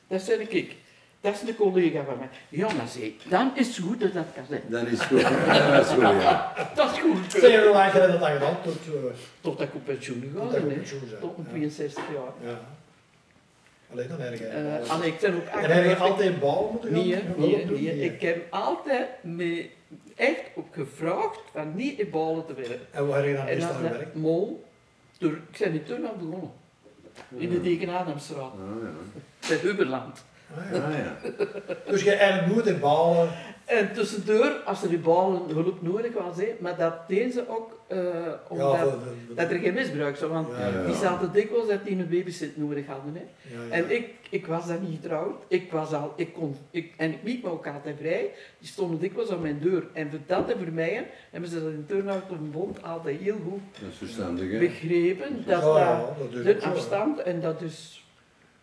dat zei ik. Dat is een collega van mij. Ja, maar zei, dan is het goed dat dat kan zijn.
Dat is goed. Dat is goed, ja.
Dat is goed.
Zeg je hoe lang heb je dat dan gedaan? Tot, eh,
Totdat ik op pensioen
tot
ga.
dat je op
hè.
pensioen bent?
Tot mijn
Ja.
62 jaar.
Ja. Alleen dan erg.
Eh Allee, ik ben ook
en heb je
echt...
altijd bal moeten gaan?
Nee,
Ja,
hè,
waarom
nee,
doe je
nee.
niet?
Ik heb altijd me echt op gevraagd van niet in balen te werken.
En waar heb je dan
En
meestal
dan zei
gewerkt?
ik, mol, door, ik ben in Turnhout begonnen. In de Dekenademstraat,
Ah, ja.
bij Huberland.
Ah, ja.
Ah, ja.
Dus je eigenlijk nooit in balen.
En tussendoor, als er die balen hulp nodig was, hè, maar dat deden ze ook eh, omdat...
Ja, voor de-
dat er geen misbruik zou, want
Ja, ja.
die zaten dikwijls dat die een babysit nodig hadden. Hè.
Ja, ja.
En ik, ik was dan niet getrouwd, ik was al, ik kon, ik, en ik liep me ook altijd vrij, die stonden dikwijls aan mijn deur. En voor dat en voor mij hebben ze dat in Turnhout op een bond altijd heel goed
Dat is verstandig, hè?
begrepen, dat
ja, ja,
dat-
dat doe je
de
zo, hè.
afstand, en dat is,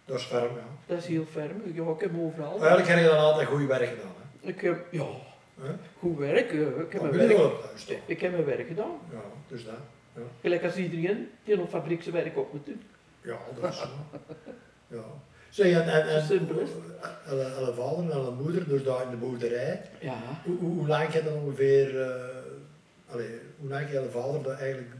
Dat is ferm, ja.
dat is heel ferm, ja, ik heb overal.
Eigenlijk heb je dan altijd goed werk gedaan. Hè?
Ik heb, ja,
Hè?
goed werk, eh, ik heb
Dan
mijn
ben je
werk,
wel op thuis, toch?
ik heb mijn werk gedaan.
Ja, dus dat.
Gelijk als iedereen die op fabriek zijn werk op moet doen.
Ja, dat is zo. ja. Zeg, en, en, en
Zo simpel is
Elle- elle vader en elle moeder, dus daar in de boerderij.
Ja.
Hoe, hoe, hoe lang heb je dan ongeveer, eh, allee, hoe lang heb je elle vader dat eigenlijk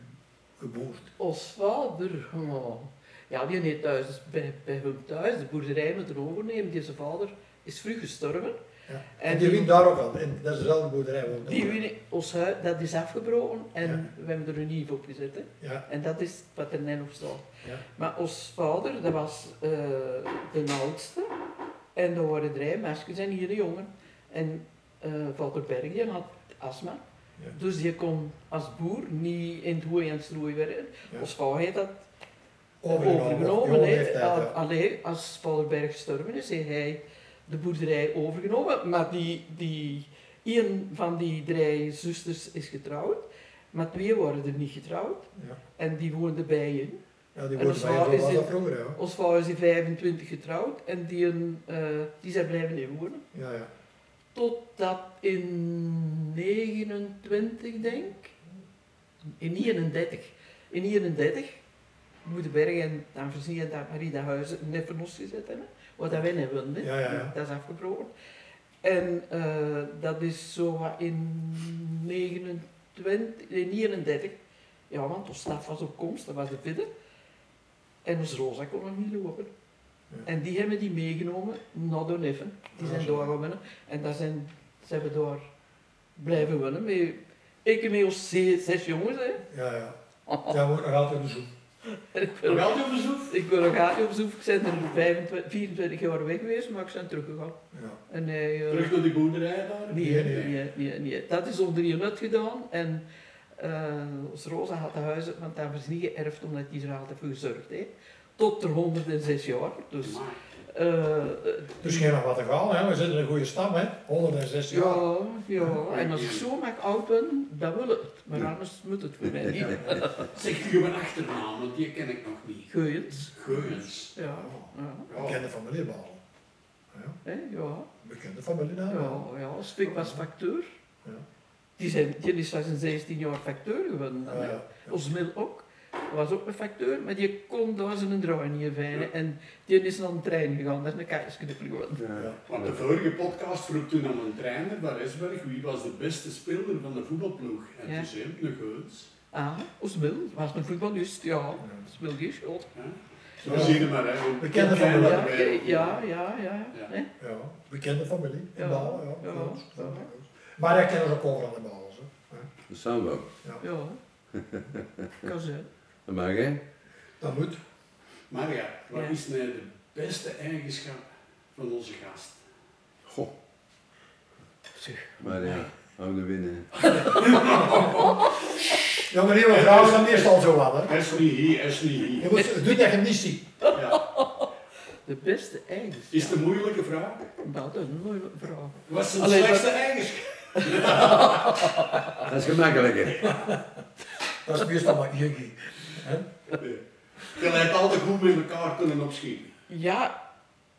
geboord?
Ons vader, oh. ja, die heeft thuis, dus bij, bij hem thuis de boerderij moeten overnemen. Die zijn vader is vroeg gestorven.
Ja. En,
En
die
die-
wint daar ook al, in, dat is dezelfde boerderij. woont
Die
ook.
wien- ons huis, dat is afgebroken en we hebben er een nieuw op gezet. Hè.
Ja,
En dat is wat er net op staat.
Ja.
Maar ons vader, dat was eh, de oudste. En er waren drie meisjes en hier een jongen. En eh vader Berg, die had astma.
Ja.
Dus je kon als boer niet in het hooi en het strooi werken.
Ja.
Ons vader heeft dat
jonge
overgenomen. hè. Ah,
leeftijd,
Al-
ja.
Alleen als Valberg gestorven is, heeft hij de boerderij overgenomen. Maar die, die, een van die drie zusters is getrouwd, maar twee worden er niet getrouwd.
Ja.
En die woonden bij je.
Ja, die
En
boerderij
dat is
van
waar, is
was dat
dit-
vroeger, ja.
Ons vader is in 25 getrouwd en die, een, eh, die zijn blijven in wonen.
Ja, ja.
Totdat in 29, denk ik. In 31. In 31 moeten Berg en dan voorzien en dat Marie dat huis net van ons gezet hebben. Wat dat wij net wilden. hè.
Ja, ja, ja.
Dat is afgebroken. En eh, dat is zo wat in 29, in 39. Ja, want ons staf was op komst, dat was de vierde. En ons Rosa kon nog niet lopen.
Ja.
En die hebben die meegenomen naar de neffen. Die
Ah,
zijn
zo.
doorgegaan winnen. En daar zijn, ze hebben door blijven winnen. Met, ik met ons zes, zes jongens. Hè.
Ja, ja.
Ah.
Jij wordt nog altijd op de zoek.
En ik ben,
Wel je bezoek?
ik ben nog aan op zoek. Ik ben er 25, 24 jaar weg geweest, maar ik ben teruggegaan.
Ja.
En hij, eh,
Terug naar die boerderij daar?
Nee,
Nee,
nee, nee, nee, nee. Dat is onder je nut gedaan. En eh ons Rosa had de huizen van Tavers niet geërfd omdat die er altijd voor gezorgd heeft. Tot ter 106 jaar. Dus
Maar,
eh, eh,
Dus geen nog wat te gaan, hè? we zitten in een goede stam, hè? 160 jaar.
ja, ja, en als ik zo mag oud ben, dan wil het. Maar anders moet het voor mij niet.
Zeg u mijn achternaam, want die ken ik nog niet.
Geuiens.
Geuens.
Ja, ja.
Bekende familiebal.
Hè, ja,
Bekende familienaam.
ja, ja. Spik was facteur.
Ja.
Die, zijn, die is als een 16 jaar facteur geworden. dan,
Ja,
hè.
ja.
Osmil ook. was ook een facteur, maar die kon daar zijn draai niet vinden. En die is naar een trein gegaan, daar is een kaartje geworden.
Ja.
Want de vorige podcast vroeg toen aan een trainer van Esberg wie was de beste speler van de voetbalploeg. En
Ja.
toen zei hij, de Geuns.
Ah, Osmil was een voetbalist, ja. Osmil Geerschot.
Zo zie je maar, hè. we
Bekende
kennen
van de
Ja,
elkaar.
ja, ja, ja.
Ja.
hè.
Ja, bekende familie. In
Ja,
Baal, ja.
ja,
Dat is-
ja.
Maar dat kennen ze ook overal in Baal. zo.
Dat staan wel.
Ja. Kan zijn.
Dat mag, hè?
Dat moet.
Maria, wat
Ja.
is nou de beste eigenschap van onze gast?
Goh.
Zeg.
Maar ja, hou de winnen.
Ja, maar heel wat vrouwen zijn meestal zo wat, hè?
Hij is niet hier, hij is niet hier.
Je moet doen dat je niet ziet.
Ja.
De beste
Is het
eigenschap.
een moeilijke vraag?
Nou, dat is een mooie vraag.
Wat is de
Allee, dat-
slechtste eigenschap?
Dat is gemakkelijker.
Dat is meestal maar juggie. hè.
Nee. Je lijkt altijd goed met elkaar kunnen opschieten.
Ja,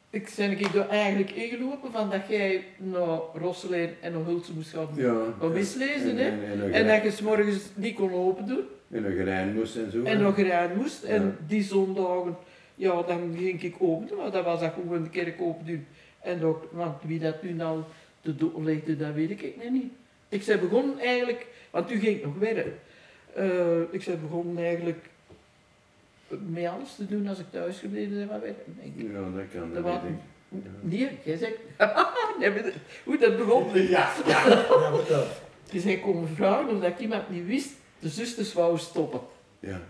ik ben ik daar eigenlijk ingelopen van dat jij naar Rosselijn en naar Hulsen moest gaan.
Ja.
Wat mislezen, hè?
En, en, en,
En dat je s'morgens niet kon open doen
en een gerijn moest en zo.
en nog eruit moest.
Ja.
En die zondagen, ja, dan ging ik open doen, maar dat was dat gewoon de kerk open doen. En ook, want wie dat nu nou te doen legde, dat weet ik nog niet. Ik ben begonnen eigenlijk, want u ging nog werken. Eh, ik ben begonnen eigenlijk met alles te doen als ik thuis gebleven ben van werken, denk ik.
Ja, dat
Dat
kan, dat
was-
weet ik.
Nee, jij zegt. nee, maar dat- hoe dat begon.
Ja, ja.
Ja, vertel.
Die zijn komen vragen omdat ik iemand niet wist. De zusters wou stoppen.
Ja.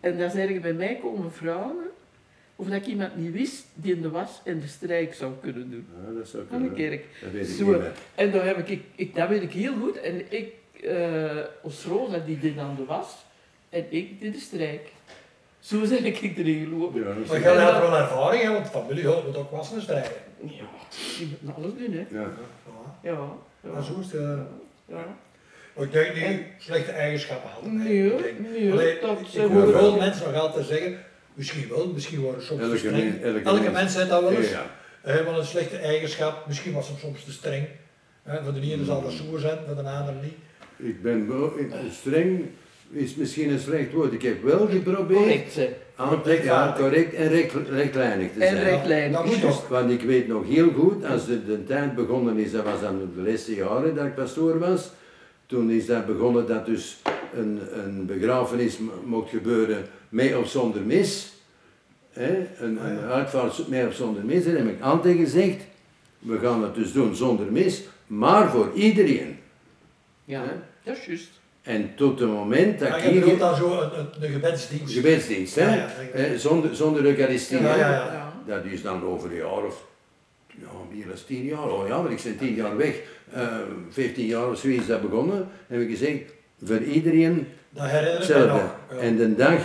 En dan zijn er bij mij komen vragen of dat ik iemand niet wist die in de was en de strijk zou kunnen doen.
Ja, Ah, dat zou
Van de
kunnen.
kerk.
Dat weet ik
Zo.
niet meer.
En daar heb ik, ik, ik- dat weet ik heel goed. En ik, eh als Rosa, die deed aan de was en ik deed de strijk. Zo ben ik erin gelopen.
Ja, dat
Maar
is-
jij had wel ervaring, hè, want familie houdt moet ook wassen en strijden.
Ja, je moet alles doen, hè.
Ja.
Ja.
Ja,
Maar
ja.
zo is het. eh,
ja.
Oh, Ik denk niet slechte eigenschappen hadden. hè. Ik
Nee,
denk-
nee,
Allee,
dat
ik
zijn
hoor
hoor
wel.
veel mensen nog altijd zeggen, misschien wel, misschien worden ze soms
Elke
te streng.
men- elke
elke
mens.
mens heeft dat wel eens.
Ja.
Hij wel een slechte eigenschap, misschien was hem soms te streng. Hè, voor de
Hmm.
ene zal dat zo zijn, voor de ander niet.
Ik ben wel, ik, streng is misschien een slecht woord. Ik heb wel geprobeerd
correct zijn.
aan te ja, correct en recht, rechtlijnig te zijn.
En rechtlijnig.
Dat Nou, moet
Juist,
ook.
Want ik weet nog heel goed, als de, de tijd begonnen is, dat was dan de laatste jaren dat ik pastoor was, toen is dat begonnen dat dus een, een begrafenis m- mocht gebeuren met of zonder mis. Hè? Een,
Ah,
een uitvaart met of zonder mis, daar heb ik aan tegen gezegd. We gaan het dus doen zonder mis, maar voor iedereen.
Ja,
Hè?
dat is juist.
En tot het moment dat
Maar
ik
Ah, je bedoelt
hier...
dan zo een, een, een gebedsdienst.
Gebedsdienst, hè?
Ja, ja, denk ik.
Eh, zonder, zonder eucharistie.
Ja,
hè?
ja,
Dat is dan over een jaar of... Ja, meer dan tien jaar. Oh ja, want ik ben tien jaar weg. Eh, Vijftien jaar of zo is dat begonnen. Heb ik gezegd, voor iedereen
Dat herinner ik me
hetzelfde.
nog. Ja.
En de dag,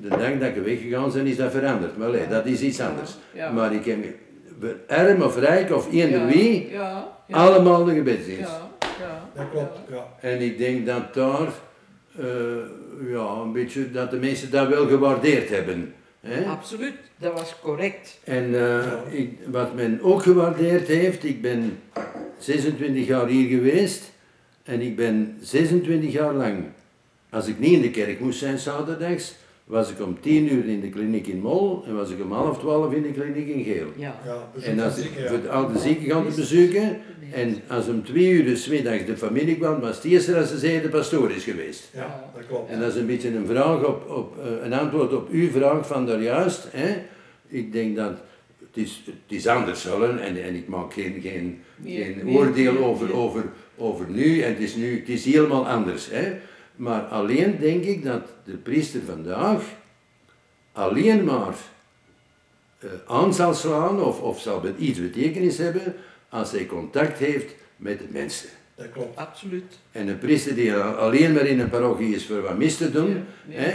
de dag dat ik weggegaan ben, is dat veranderd. Maar allee, dat is iets anders.
Ja.
Maar ik heb... we- Arm of rijk of eender
Ja,
wie,
Ja. ja,
allemaal de gebedsdienst.
Ja, ja.
Dat klopt, ja.
En ik denk dat daar, eh, ja, een beetje, dat de mensen dat wel gewaardeerd hebben. Hè?
ja. Absoluut, dat was correct.
En eh, ik, wat men ook gewaardeerd heeft, ik ben 26 jaar hier geweest en ik ben 26 jaar lang, als ik niet in de kerk moest zijn zaterdags, was ik om 10 uur in de kliniek in Mol en was ik om half 12 in de kliniek in Geel.
Ja.
ja bezoek
En als
van
ik
zieken, ja.
voor de oude zieken gaan te bezoeken en als om 2 uur smiddags de familie kwam, was het eerste dat ze zeiden de pastoor is geweest.
Ja, dat klopt.
En dat is een beetje een vraag op, op eh, een antwoord op uw vraag van daarjuist. Hè? Ik denk dat het is, het is anders zullen en, en ik maak geen, geen,
Nee,
geen
nee,
oordeel
nee,
over,
nee.
Over, over nu en het is nu, het is helemaal anders. Hè? Maar alleen denk ik dat de priester vandaag alleen maar eh, aan zal slaan of, of zal bet- iets betekenis hebben als hij contact heeft met de mensen.
Dat klopt.
Absoluut.
En een priester die al- alleen maar in een parochie is voor wat mis te doen,
Ja, ja.
hè,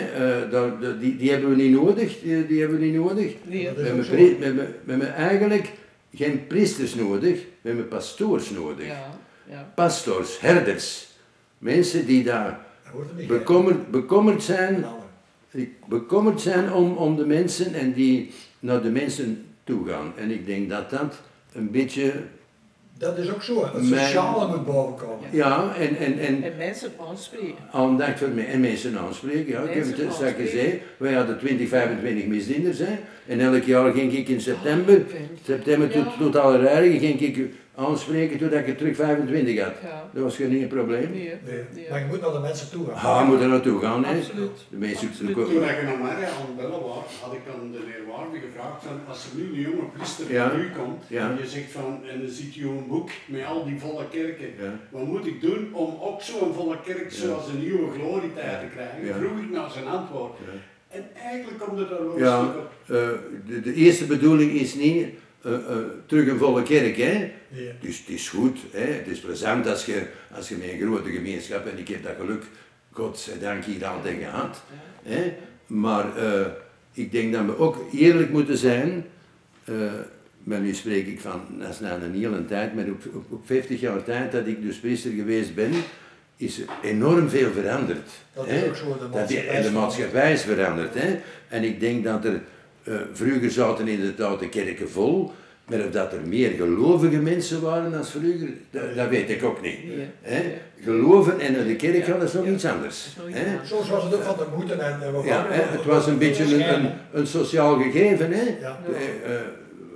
eh, daar- daar- die, die hebben we niet nodig. Die, die hebben we niet nodig.
Nee,
Dat
We
is
hebben,
ook zo.
pri- we hebben- we hebben eigenlijk geen priesters nodig, we hebben pastoors nodig.
ja, ja.
Pastors, herders. Mensen die daar
Dat wordt een beetje...
bekommerd, bekommerd
Een
zijn
ander.
die bekommerd zijn om, om de mensen en die naar de mensen toe gaan. En ik denk dat dat een beetje,
Dat is ook zo. hè. Het
Mijn-
sociale moet bovenkomen.
ja, en, en, en
En mensen aanspreken.
aandacht voor me en mensen aanspreken. Ja. Ik heb
Mensen
het straks
aanspreken.
gezegd, wij hadden 20, 25 misdieners. Hè. En elk jaar ging ik in september, september tot,
Ja.
tot Allerheiligen, ging ik aanspreken totdat ik er terug 25 had.
Ja,
Dat was geen probleem.
nee,
Nee.
nee.
Maar je moet naar de mensen toe gaan.
Ha, moet er naartoe gaan. Hè.
Absoluut.
De mensen,
Absoluut.
ko-
Toen ik naar Maria aan het bellen was, had ik aan de leerwaarde gevraagd, van, als er nu een jonge priester
Ja.
naar u komt,
Ja.
en je zegt van, en dan ziet je een boek met al die volle kerken,
Ja.
wat moet ik doen om ook zo'n volle kerk zoals een nieuwe glorietijd te krijgen?
Ja.
Vroeg ik naar zijn antwoord.
Ja.
En eigenlijk komt er daar wel een
Ja,
stuk op.
eh, de, de eerste bedoeling is niet eh, eh, terug een volle kerk, hè.
Ja.
Dus het is goed, hè. Het is plezant als je, als je met een grote gemeenschap, en ik heb dat geluk, godzijdank, hier altijd gehad. Hè. Maar eh, ik denk dat we ook eerlijk moeten zijn, eh, maar nu spreek ik van, dat is na een hele tijd, maar op, op, op 50 jaar tijd dat ik dus priester geweest ben, is er enorm veel veranderd.
Dat
hè.
is ook zo. De
Dat die,
maatschappij
en de
is-
maatschappij is veranderd. Hè? En ik denk dat er. eh, vroeger zaten inderdaad de kerken vol. Maar of dat er meer gelovige mensen waren dan vroeger, dat, dat weet ik ook niet.
Nee.
Hè? Geloven en naar de kerk
Ja,
gaan is nog
ja.
iets anders.
Dat is nog
hè.
iets anders.
Soms was het ook van de moeten en... en wat- eh,
Ja, hè, het was een beetje een, een, een sociaal gegeven. Hè?
Ja.
Eh, eh,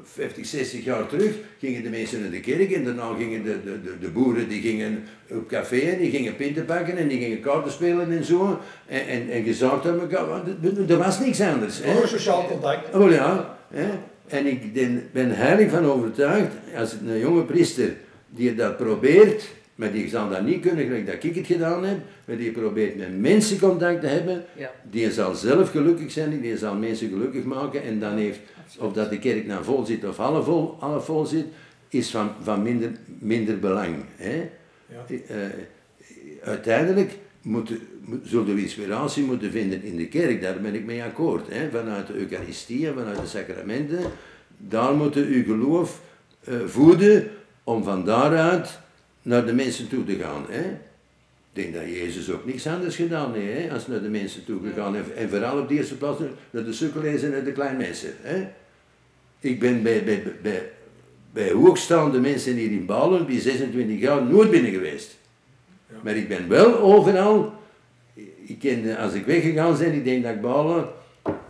50, 60 jaar terug gingen de mensen naar de kerk en daarna gingen de, de, de, de boeren die gingen op café en die gingen pinten pakken en die gingen kaarten spelen en zo. En, en, en gezaagd aan elkaar. want er- Er was niks anders. Hè?
Ook een sociaal contact.
Oh ja. Hè? En ik den- ben heilig van overtuigd, als het een jonge priester die dat probeert, maar die zal dat niet kunnen, gelijk dat ik het gedaan heb, maar die probeert met mensen contact te hebben,
Ja.
die zal zelf gelukkig zijn, die zal mensen gelukkig maken en dan heeft, of dat de kerk nou vol zit of half vol, half vol zit, is van, van minder, minder belang. Hè?
Ja.
Eh, uiteindelijk moeten, moet- zullen we inspiratie moeten vinden in de kerk, daar ben ik mee akkoord. Hè? Vanuit de Eucharistie en vanuit de sacramenten, daar moeten uw geloof eh, voeden om van daaruit naar de mensen toe te gaan. Hè? Ik denk dat Jezus ook niks anders gedaan heeft hè, als naar de mensen toe gegaan. En, en vooral op de eerste plaats naar de sukkelees en naar de kleinmensen. Hè? Ik ben bij, bij, bij, bij hoogstaande mensen hier in Balen, die 26 jaar, nooit binnen geweest. Maar ik ben wel overal. Ik ken, als ik weggegaan ben, ik denk dat ik Balen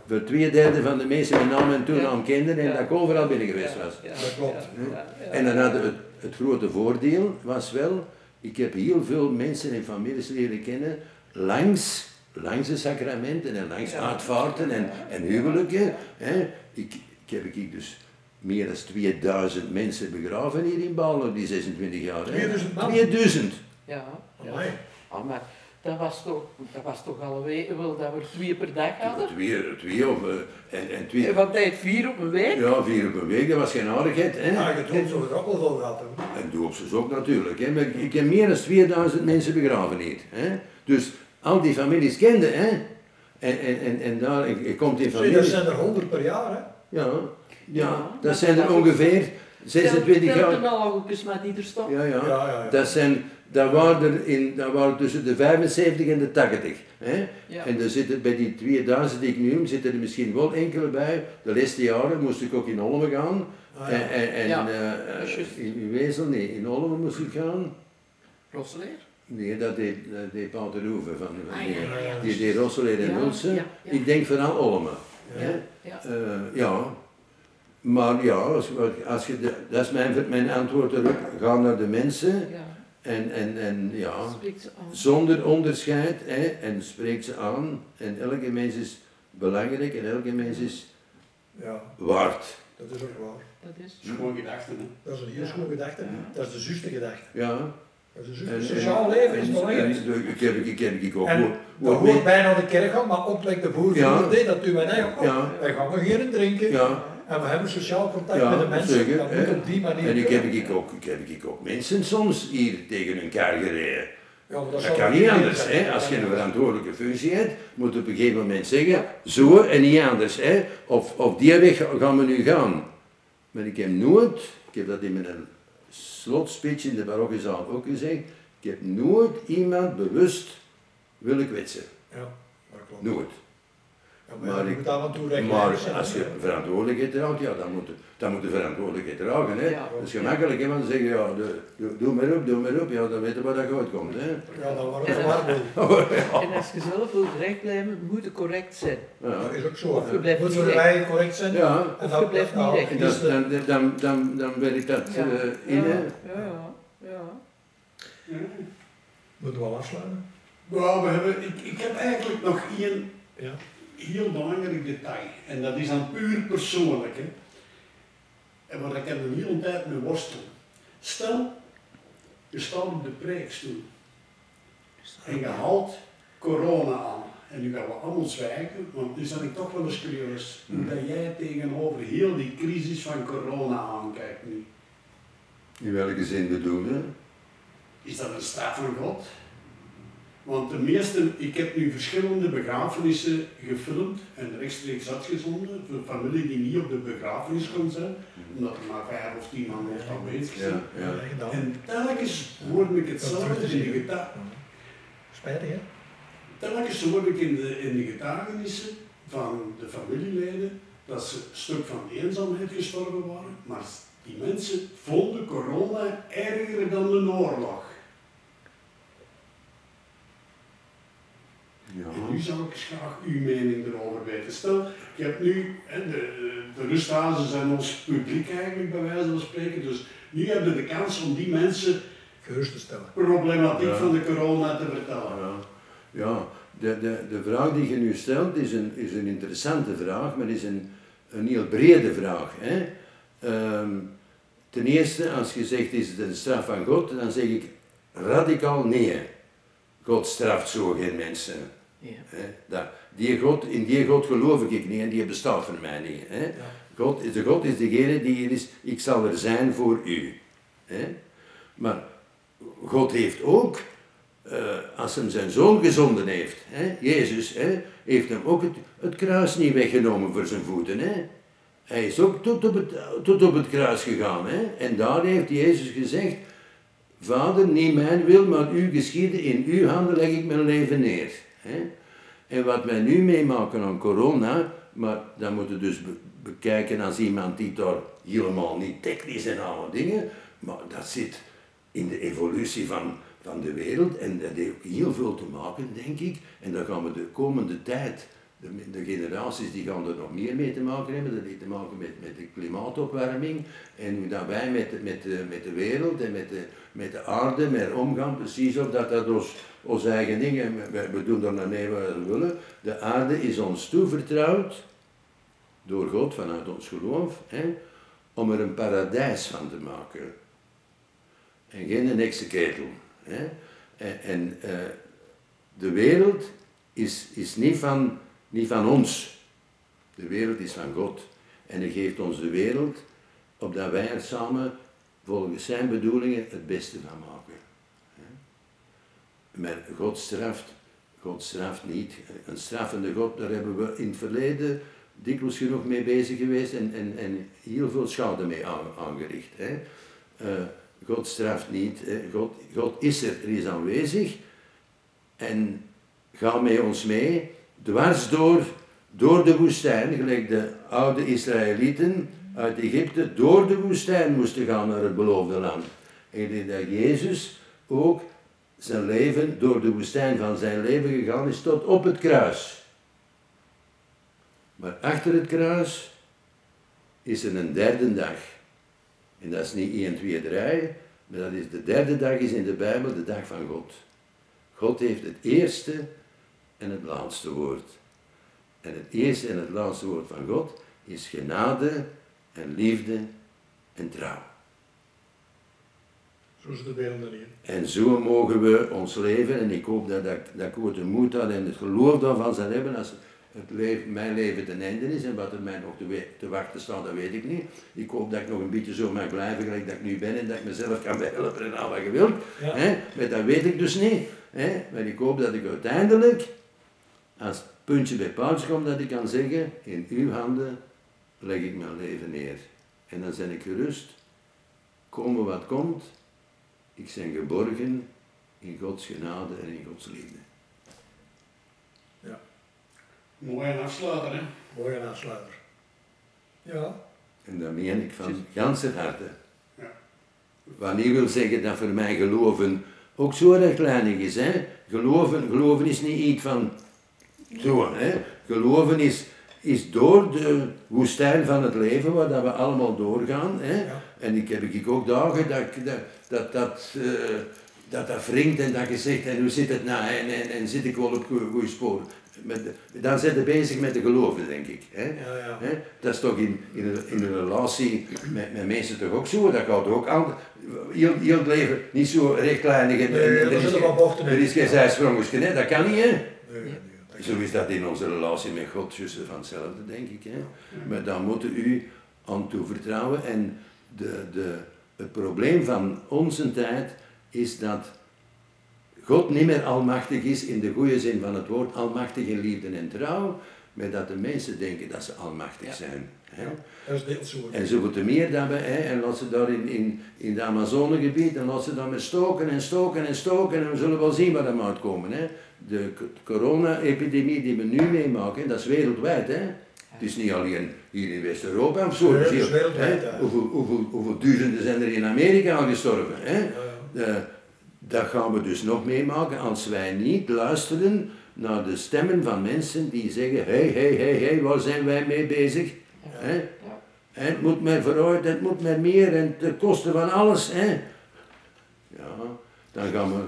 voor twee derde van de mensen mijn naam en toenaam kende en
Ja.
dat ik overal binnen geweest was.
Ja,
Dat klopt.
ja, ja, ja.
En dan hadden we het, het grote voordeel was wel, ik heb heel veel mensen en families leren kennen langs, langs de sacramenten en langs
Ja.
uitvaarten en, en huwelijken. Hè. Ik, ik heb ik dus meer dan 2000 mensen begraven hier in Balen op die 26 jaar. Hè.
2000 man?
2000.
Ja, ja.
Amai.
Ah, maar dat was toch, dat was toch alweer wel dat we er twee per dag hadden?
Twee, twee of, eh, en, en twee,
En van tijd vier op een week?
ja, vier op een week, dat was geen aardigheid. Hè.
Ja, je doet zo ook wel veel gehad hebben.
En doopsels ook natuurlijk. Hè. Maar ik- Ik heb meer dan 2000 mensen begraven hier. Hè. Dus al die families kenden. Hè. En, en, en, en daar en- en komt die
Zie, dat
familie.
zijn er 100 per jaar, hè?
Ja,
Ja,
ja,
dat
dat zijn
is
er
ook-
ongeveer 26
jaar.
jaar.
Dat al ook eens maar niet er stond.
Ja,
Ja,
ja.
ja, ja.
Dat, zijn, dat, waren er in, dat waren tussen de 75 en de 80. Hè?
Ja.
En er zitten bij die 2000 die ik nu noem, zitten er misschien wel enkele bij. De laatste jaren moest ik ook in Olmen gaan.
Ah, ja.
En, en, en
Ja,
eh,
dat is juist.
in, in Wezel, nee, in Olmen moest ik gaan.
Rosleer?
Nee, dat deed, dat deed Paul de Roeven van van-
Ah, ja, ja, ja.
Die deed Rosselin en
Ja,
Wilson.
ja, ja.
Ik denk vooral Olmen.
Ja.
Ja.
Ja.
Eh, ja. Maar ja, als, als je de- dat is mijn, mijn antwoord erop. Ga naar de mensen
Ja,
en, en, en ja,
spreekt ze aan.
zonder onderscheid hè, en spreek ze aan. En elke mens is belangrijk en elke mens is
Ja,
waard.
dat is ook waar.
Dat is...
Dat is gewoon gedachten, hè.
Dat is een heel schoon gedachte. Dat is de zuste gedachte.
Ja.
Dat is de
En-
zuste.
en-
Sociaal leven is
en-
belangrijk.
en- Ik heb, ik heb ik ook.
En
hoe- hoe
Dat
meer-
hoort bijna de kerk aan, maar op like de boer
Ja.
vroeger deed dat toen wij dachten, oh,
Ja.
wij gaan nog hier in drinken.
Ja,
En we hebben sociaal contact
Ja,
met de mensen.
zeker,
dat
hè.
moet op die manier.
En ik heb,
kunnen.
ik, ook, ik heb ik ook mensen soms hier tegen elkaar gereden.
Ja, maar
Dat
zal
kan
ook
niet anders.
zijn.
Hè? Als je een verantwoordelijke functie hebt, moet je op een gegeven moment zeggen, zo en niet anders. Hè? Of, of die weg gaan we nu gaan. Maar ik heb nooit, ik heb dat in mijn slotspeech in de barokkezaal ook gezegd, ik heb nooit iemand bewust willen kwetsen.
Ja, dat klopt.
Nooit.
Ja,
Maar
maar je
ik-
moet daar aan toe rekken.
Maar als je verantwoordelijkheid draagt, ja, dan moet, je- dan moet je verantwoordelijkheid dragen. Hè?
Ja.
dat is gemakkelijk, hè? want dan zeggen ja, doe, doe, doe maar op, doe maar op, ja, dan weten we waar dat goed komt. Hè?
Ja, dan wordt het warm.
Ah.
En als je zelf wil recht blijven, moet je correct zijn.
Ja.
Dat is ook zo.
Of je blijft
Moeten
niet
we wij correct zijn?
Ja,
En
Of je blijft niet
nou,
recht.
en
is
dat,
de-
dan, dan, dan, dan werkt dat
Ja.
eh, in.
ja,
hè.
ja, ja, ja.
Moeten we wel afsluiten?
Nou, we hebben, ik, ik heb eigenlijk nog één
Ja.
heel belangrijk detail. En dat is dan puur persoonlijk. Hè. En waar ik er een hele tijd mee worstel. Stel, je staat op de preekstoel. En je haalt corona aan. En nu gaan we allemaal zwijgen, want nu ben ik toch wel eens curieus. Hoe dat jij tegenover heel die crisis van corona aankijkt nu.
In welke zin bedoelde?
Is dat een straf van God? Want de meeste, ik heb nu verschillende begrafenissen gefilmd en rechtstreeks uitgezonden voor familie die niet op de begrafenis kon zijn, omdat er maar vijf of tien man mocht aanwezig zijn.
Ja, ja.
Ja, gedaan.
En telkens hoorde ik hetzelfde in de, geta-
Spijtig, hè?
telkens hoorde ik in de, in de getuigenissen van de familieleden dat ze een stuk van eenzaamheid gestorven waren, maar die mensen vonden corona erger dan een oorlog.
ja.
En Nou, nu zou ik eens graag uw mening erover weten. Stel, je hebt nu, hè, de, de rusthazen zijn ons publiek eigenlijk bij wijze van spreken, dus nu hebben we de kans om die mensen
Gerust te stellen.
problematiek
Ja.
van de corona te vertellen.
Ja, ja. De, de, de vraag die je nu stelt is een, is een interessante vraag, maar is een, een heel brede vraag. Hè? Ehm, ten eerste, als je zegt is het een straf van God, dan zeg ik radicaal nee. God straft zo geen mensen.
Ja.
Hè? Dat, die God, in die God geloof ik niet en die bestaat voor mij niet. Hè? God, is- de God is degene die hier is, ik zal er zijn voor u. Hè? Maar God heeft ook, eh, als hem zijn zoon gezonden heeft, hè, Jezus, hè, heeft hem ook het, het kruis niet weggenomen voor zijn voeten. Hè? Hij is ook tot op het, tot op het kruis gegaan. Hè? En daar heeft Jezus gezegd, Vader, niet mijn wil, maar uw geschieden, in uw handen leg ik mijn leven neer. Hè? En wat wij nu meemaken aan corona, maar dat moeten we dus be- bekijken als iemand die daar helemaal niet technisch en alle dingen, maar dat zit in de evolutie van, van de wereld en dat heeft ook heel veel te maken, denk ik. En daar gaan we de komende tijd, de, de generaties die gaan er nog meer mee te maken hebben, dat heeft te maken met, met de klimaatopwarming en hoe dat wij met, de- met, de, met de wereld en met de, met de aarde mee omgaan, precies of dat dat ons ons eigen dingen, we, we doen er naar mee wat we willen. De aarde is ons toevertrouwd, door God, vanuit ons geloof, hè, om er een paradijs van te maken. En geen een heksenketel. Hè. En, en eh, de wereld is, is niet, van, niet van ons. De wereld is van God. En hij geeft ons de wereld, opdat wij er samen volgens zijn bedoelingen het beste van maken. Maar God straft. God straft niet. Een straffende God, daar hebben we in het verleden dikwijls genoeg mee bezig geweest en, en, en heel veel schade mee aan- aangericht. Hè. Eh, God straft niet. hè. God, God is er, er is aanwezig. En ga met ons mee, dwars door, door de woestijn, gelijk de oude Israëlieten uit Egypte, door de woestijn moesten gaan naar het beloofde land. En ik denk dat Jezus ook zijn leven, door de woestijn van zijn leven gegaan is tot op het kruis. Maar achter het kruis is er een derde dag. En dat is niet 1, 2, 3, maar dat is de derde dag is in de Bijbel de dag van God. God heeft het eerste en het laatste woord. En het eerste en het laatste woord van God is genade en liefde en trouw.
Zo is de wereld erin.
En zo mogen we ons leven, en ik hoop dat, dat, dat ik ooit de moed had en het geloof daarvan zal hebben, als, het leef- mijn leven ten einde is en wat er mij nog te, we- te wachten staat, dat weet ik niet. Ik hoop dat ik nog een beetje zo mag blijven gelijk dat ik nu ben en dat ik mezelf kan helpen en al wat je wilt.
Ja.
Hè? Maar dat weet ik dus niet. Hè? Maar ik hoop dat ik uiteindelijk, als het puntje bij paaltje komt, dat ik kan zeggen, in uw handen leg ik mijn leven neer. En dan ben ik gerust, komme wat komt, ik ben geborgen in Gods genade en in Gods liefde.
Mooi en afsluiten, hè?
Mooi een aansluiter. Ja.
En dat meen ik van ganser harte.
Ja.
Wat niet wil zeggen dat voor mij geloven ook zo erg kleinig is. Hè? Geloven, geloven is niet iets van zo. Hè? Geloven is, is door de woestijn van het leven waar dat we allemaal doorgaan. Hè?
Ja.
En ik heb ik ook dagen dat ik- dat dat, dat, eh, dat, dat wringt en dat je zegt, en hoe zit het nou, en, en, en zit ik wel op goede sporen. Met de- dan zijn we bezig met de geloven, denk ik. Hè?
Ja, ja.
Hè? Dat is toch in, in, een, in een relatie met, met mensen toch ook zo? Dat gaat ook aan. Heel, heel het leven niet zo rechtlijnig. En, en-
Nee,
en
er
er, is
zitten
geen-
wat bochten in.
er is geen zijsprongen, hè? dat kan niet. Hè?
Nee, nee, nee.
Zo is dat in onze relatie met God, juist van hetzelfde, denk ik. Hè? Maar dan moeten u aan toevertrouwen. En de, de, het probleem van onze tijd is dat God niet meer almachtig is in de goede zin van het woord, almachtig in liefde en trouw, maar dat de mensen denken dat ze almachtig zijn. Hè?
Dat is deels zo.
En zoveel te meer dat we, hè, en laat ze daar in, in, in het Amazonegebied, en laat ze daar met stoken en stoken en stoken, en we zullen wel zien waar dat moet komen. Hè. De c- corona-epidemie die we nu meemaken, hè, dat is wereldwijd. Hè. Het is niet alleen hier in West-Europa of zo.
Nee, dat
Zie je,
is wereldwijd,
hè.
ja.
Hoeveel, hoeveel, hoeveel duizenden zijn er in Amerika aan gestorven? Hè. Eh, dat gaan we dus nog meemaken als wij niet luisteren naar de stemmen van mensen die zeggen, hé, hé, hé, hé, waar zijn wij mee bezig? Hè?
Ja.
Hè, Het moet maar vooruit, het moet maar meer en ten koste van alles. Hè? Ja, dan, gaan we,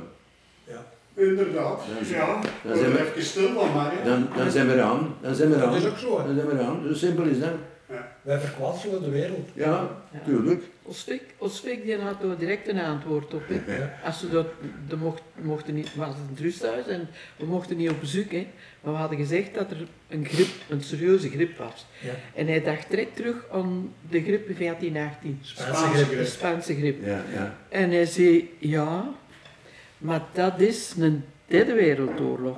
Ja.
Inderdaad.
Dan-
Ja,
dan zijn
word
we-
er even stil van, maar. hè.
dan, dan zijn we aan. Dan zijn we
Dat
aan.
is ook zo, hè.
Dan zijn we aan. Zo simpel is dat.
Wij verkwanselen de wereld.
Ja,
Ja.
tuurlijk.
Osvik, Osvik die had daar direct een antwoord op. hè. Als ze dat, de mocht, mochten niet, het was een rusthuis en we mochten niet op bezoek. Hè. Maar we hadden gezegd dat er een grip, een serieuze grip was.
Ja.
En hij dacht direct terug aan de grip in 1418,
Spaanse griep.
de Spaanse grip.
Ja, ja.
En hij zei, ja, maar dat is een derde wereldoorlog.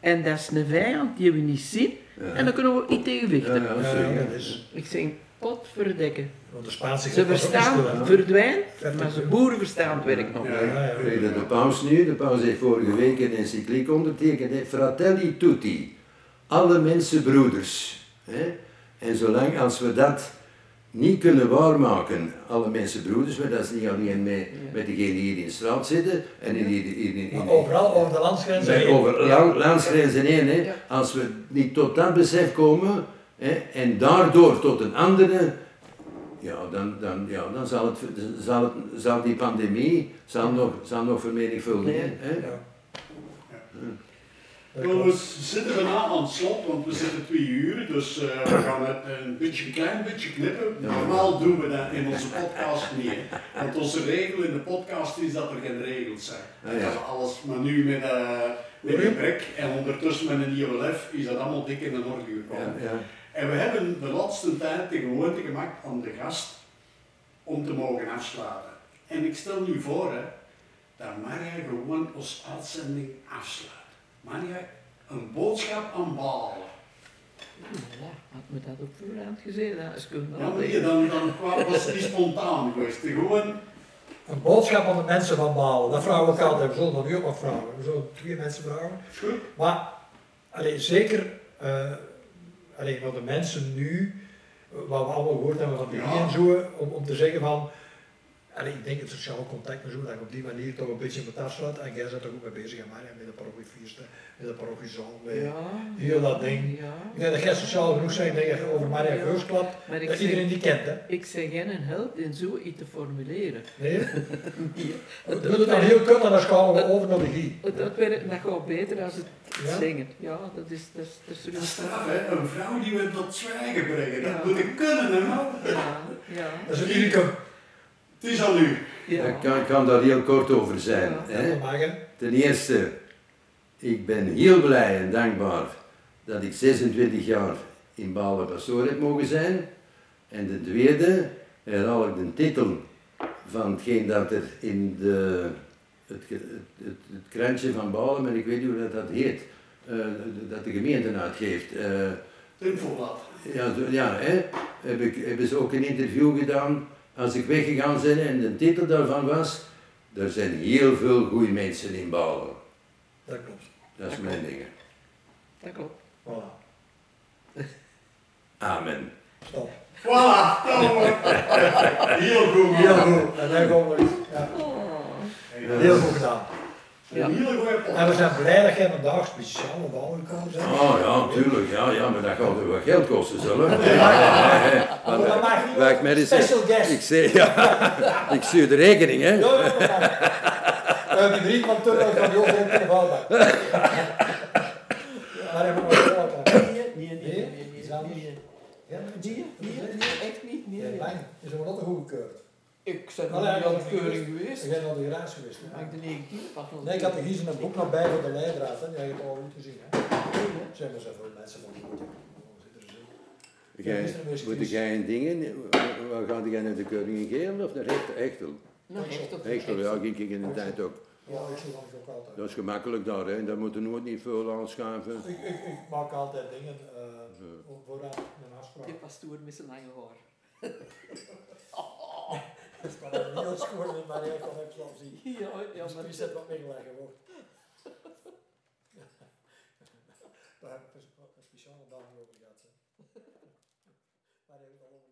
En dat is een vijand die we niet zien en daar kunnen we ook niet tegen
Ja,
vechten.
ja,
Ja, ja, dat
zeker.
is.
Ik zeg, potverdekken.
Want de Spaanse
Ze
griep was ook niet stil,
verstaan,
hè.
verdwijnt, maar ze boeren verstaan het werk nog.
Ja.
Ja, ja.
Kijk, dat De paus nu, de paus heeft vorige week een encycliek ondertekend, hè, Fratelli Tutti, alle mensen broeders. Hè? En zolang als we dat niet kunnen waarmaken, alle mensen broeders, maar dat is niet alleen met, met degenen die hier in straat zitten en in, in, in, in,
Maar
in-
overal, over de landsgrenzen
bij
heen.
over la- landsgrenzen heen. Hè.
Ja.
Als we niet tot dat besef komen hè, en daardoor tot een andere, ja, dan, dan, ja, dan zal, het, zal, het, zal die pandemie zal nog, zal nog vermenigvuldigen. Hè.
Ja. Dat
Wel,
klopt.
we zitten bijna aan het slot, want we zitten twee uur, dus eh, we gaan het een beetje een klein beetje knippen. Normaal doen we dat in onze podcast niet. hè. Want onze regel in de podcast is dat er geen regels zijn.
Ah, ja.
Dat we alles, maar nu met, eh met een brek en ondertussen met een nieuwe lef is dat allemaal dik in de orde gekomen.
Ja, ja.
En we hebben de laatste tijd de gewoonte gemaakt aan de gast om te mogen afsluiten. En ik stel nu voor hè, dat Maria gewoon als uitzending afsluit. Maria, een boodschap aan Balen.
Ja, had me dat op voorhand gezegd, dat is kunnen
Ja, maar je,
altijd.
dan, dan kwam- was het niet spontaan geweest. Gewoon,
Een boodschap aan de mensen van Balen. Dat vragen we ook altijd. We zullen nog heel wat vragen. We zullen twee mensen vragen.
is goed.
Maar allee, zeker eh allee, wat de mensen nu, eh, wat we allemaal gehoord hebben van die
Ja.
en zo, om, om te zeggen van, allee, ik denk het sociaal contact en zo, dat je op die manier toch een beetje moet afsluiten. En jij bent er goed mee bezig, maar met de parochiefeesten, met de parochiezaal, met
Ja,
heel dat ding.
ja.
Ik denk dat jij sociaal genoeg bent, ik denk dat je over Maria Geusklap,
Maar ik
dat iedereen die kent, hè.
Ik zeg geen help in zoiets te formuleren.
Nee?
Het
Doe het dan heel kut en dan schalen we over naar de Guy.
Het uitwerken, dat gaat beter als het
Ja?
zingen. Ja, dat is, dat is, dat is
Dat is
rustig.
straf, hè? Een vrouw die we tot zwijgen brengen. Dat
Ja.
moet ik kunnen, hè? man?
Ja, ja,
Dat is een unicum.
Het is aan u.
Ik
ja.
kan, ik kan daar heel kort over zijn.
Ja.
Hè.
Dat mag, hè.
Ten eerste, ik ben heel blij en dankbaar dat ik 26 jaar in Balen pastoor heb mogen zijn. En de tweede herhaal ik de titel van hetgeen dat er in de, het, het, het, het krantje van Balen, en ik weet niet hoe dat, dat heet, eh, dat de gemeente uitgeeft. Eh,
Infoblad.
ja, zo- ja hè, heb ik, hebben ze ook een interview gedaan als ik weggegaan ben en de titel daarvan was Er zijn heel veel goede mensen in Balen.
Dat klopt.
Dat is mijn ding.
Dat klopt.
Voilà.
Amen.
Stop.
Voilà, dat hoor. Heel goed.
Heel goed. En dan gewoon nog eens. Ja. Heel goed gedaan.
Een hele goede
En we
podcast.
zijn blij dat jij vandaag speciaal op al gekomen bent.
Oh ja, tuurlijk, ja, ja, maar dat gaat weer wat geld kosten, zullen we?
Oh, dat mag.
Waar ik mij eh, eens- eh,
Special guest.
Ik zie, ja, ik zie de rekening, hè?
Ja, ja, ja, ja. Eh, Die brief van Turner van Jozef in de vuilbak. Maar even maar voortaan.
Nee, nee, nee, nee, nee,
Nee?
nee,
Is dat
nee,
niet?
nee.
Ja,
Nee, nee, nee, echt niet. Nee, nee.
Bang. Is er wel altijd goedgekeurd.
Ik ben nog
Allee,
niet aan de
ik-
keuring geweest.
Ik ben al de graas geweest.
Maar
hè.
ik de 19 pas nog.
Nee, ik had er gisteren een boek nog bij voor de leidraad. Hè. Die heb je al goed gezien. Hè. Er zijn maar zoveel mensen van die moeten.
Jij, moet jij een ding in? Waar gaat jij naar de Keuringen Geel of naar Hechtel? Hechtel?
Nou, echt op
Hechtel, ja, ging ik in de tijd ook.
Ja, ik zie langs ook altijd.
Dat is gemakkelijk daar, hè? Daar moeten nooit niet veel aanschuiven.
Ik, ik, ik maak altijd dingen eh vooruit mijn afspraak.
De pastoor met zijn lange haar.
Ik kan het niet opscoren, maar ik kan het wel zien.
Ja, ja,
Dus
maar
wie zet wat meegelegd wordt. Daar heb ik een speciale dag over gehad. hè. Maar hij heeft al over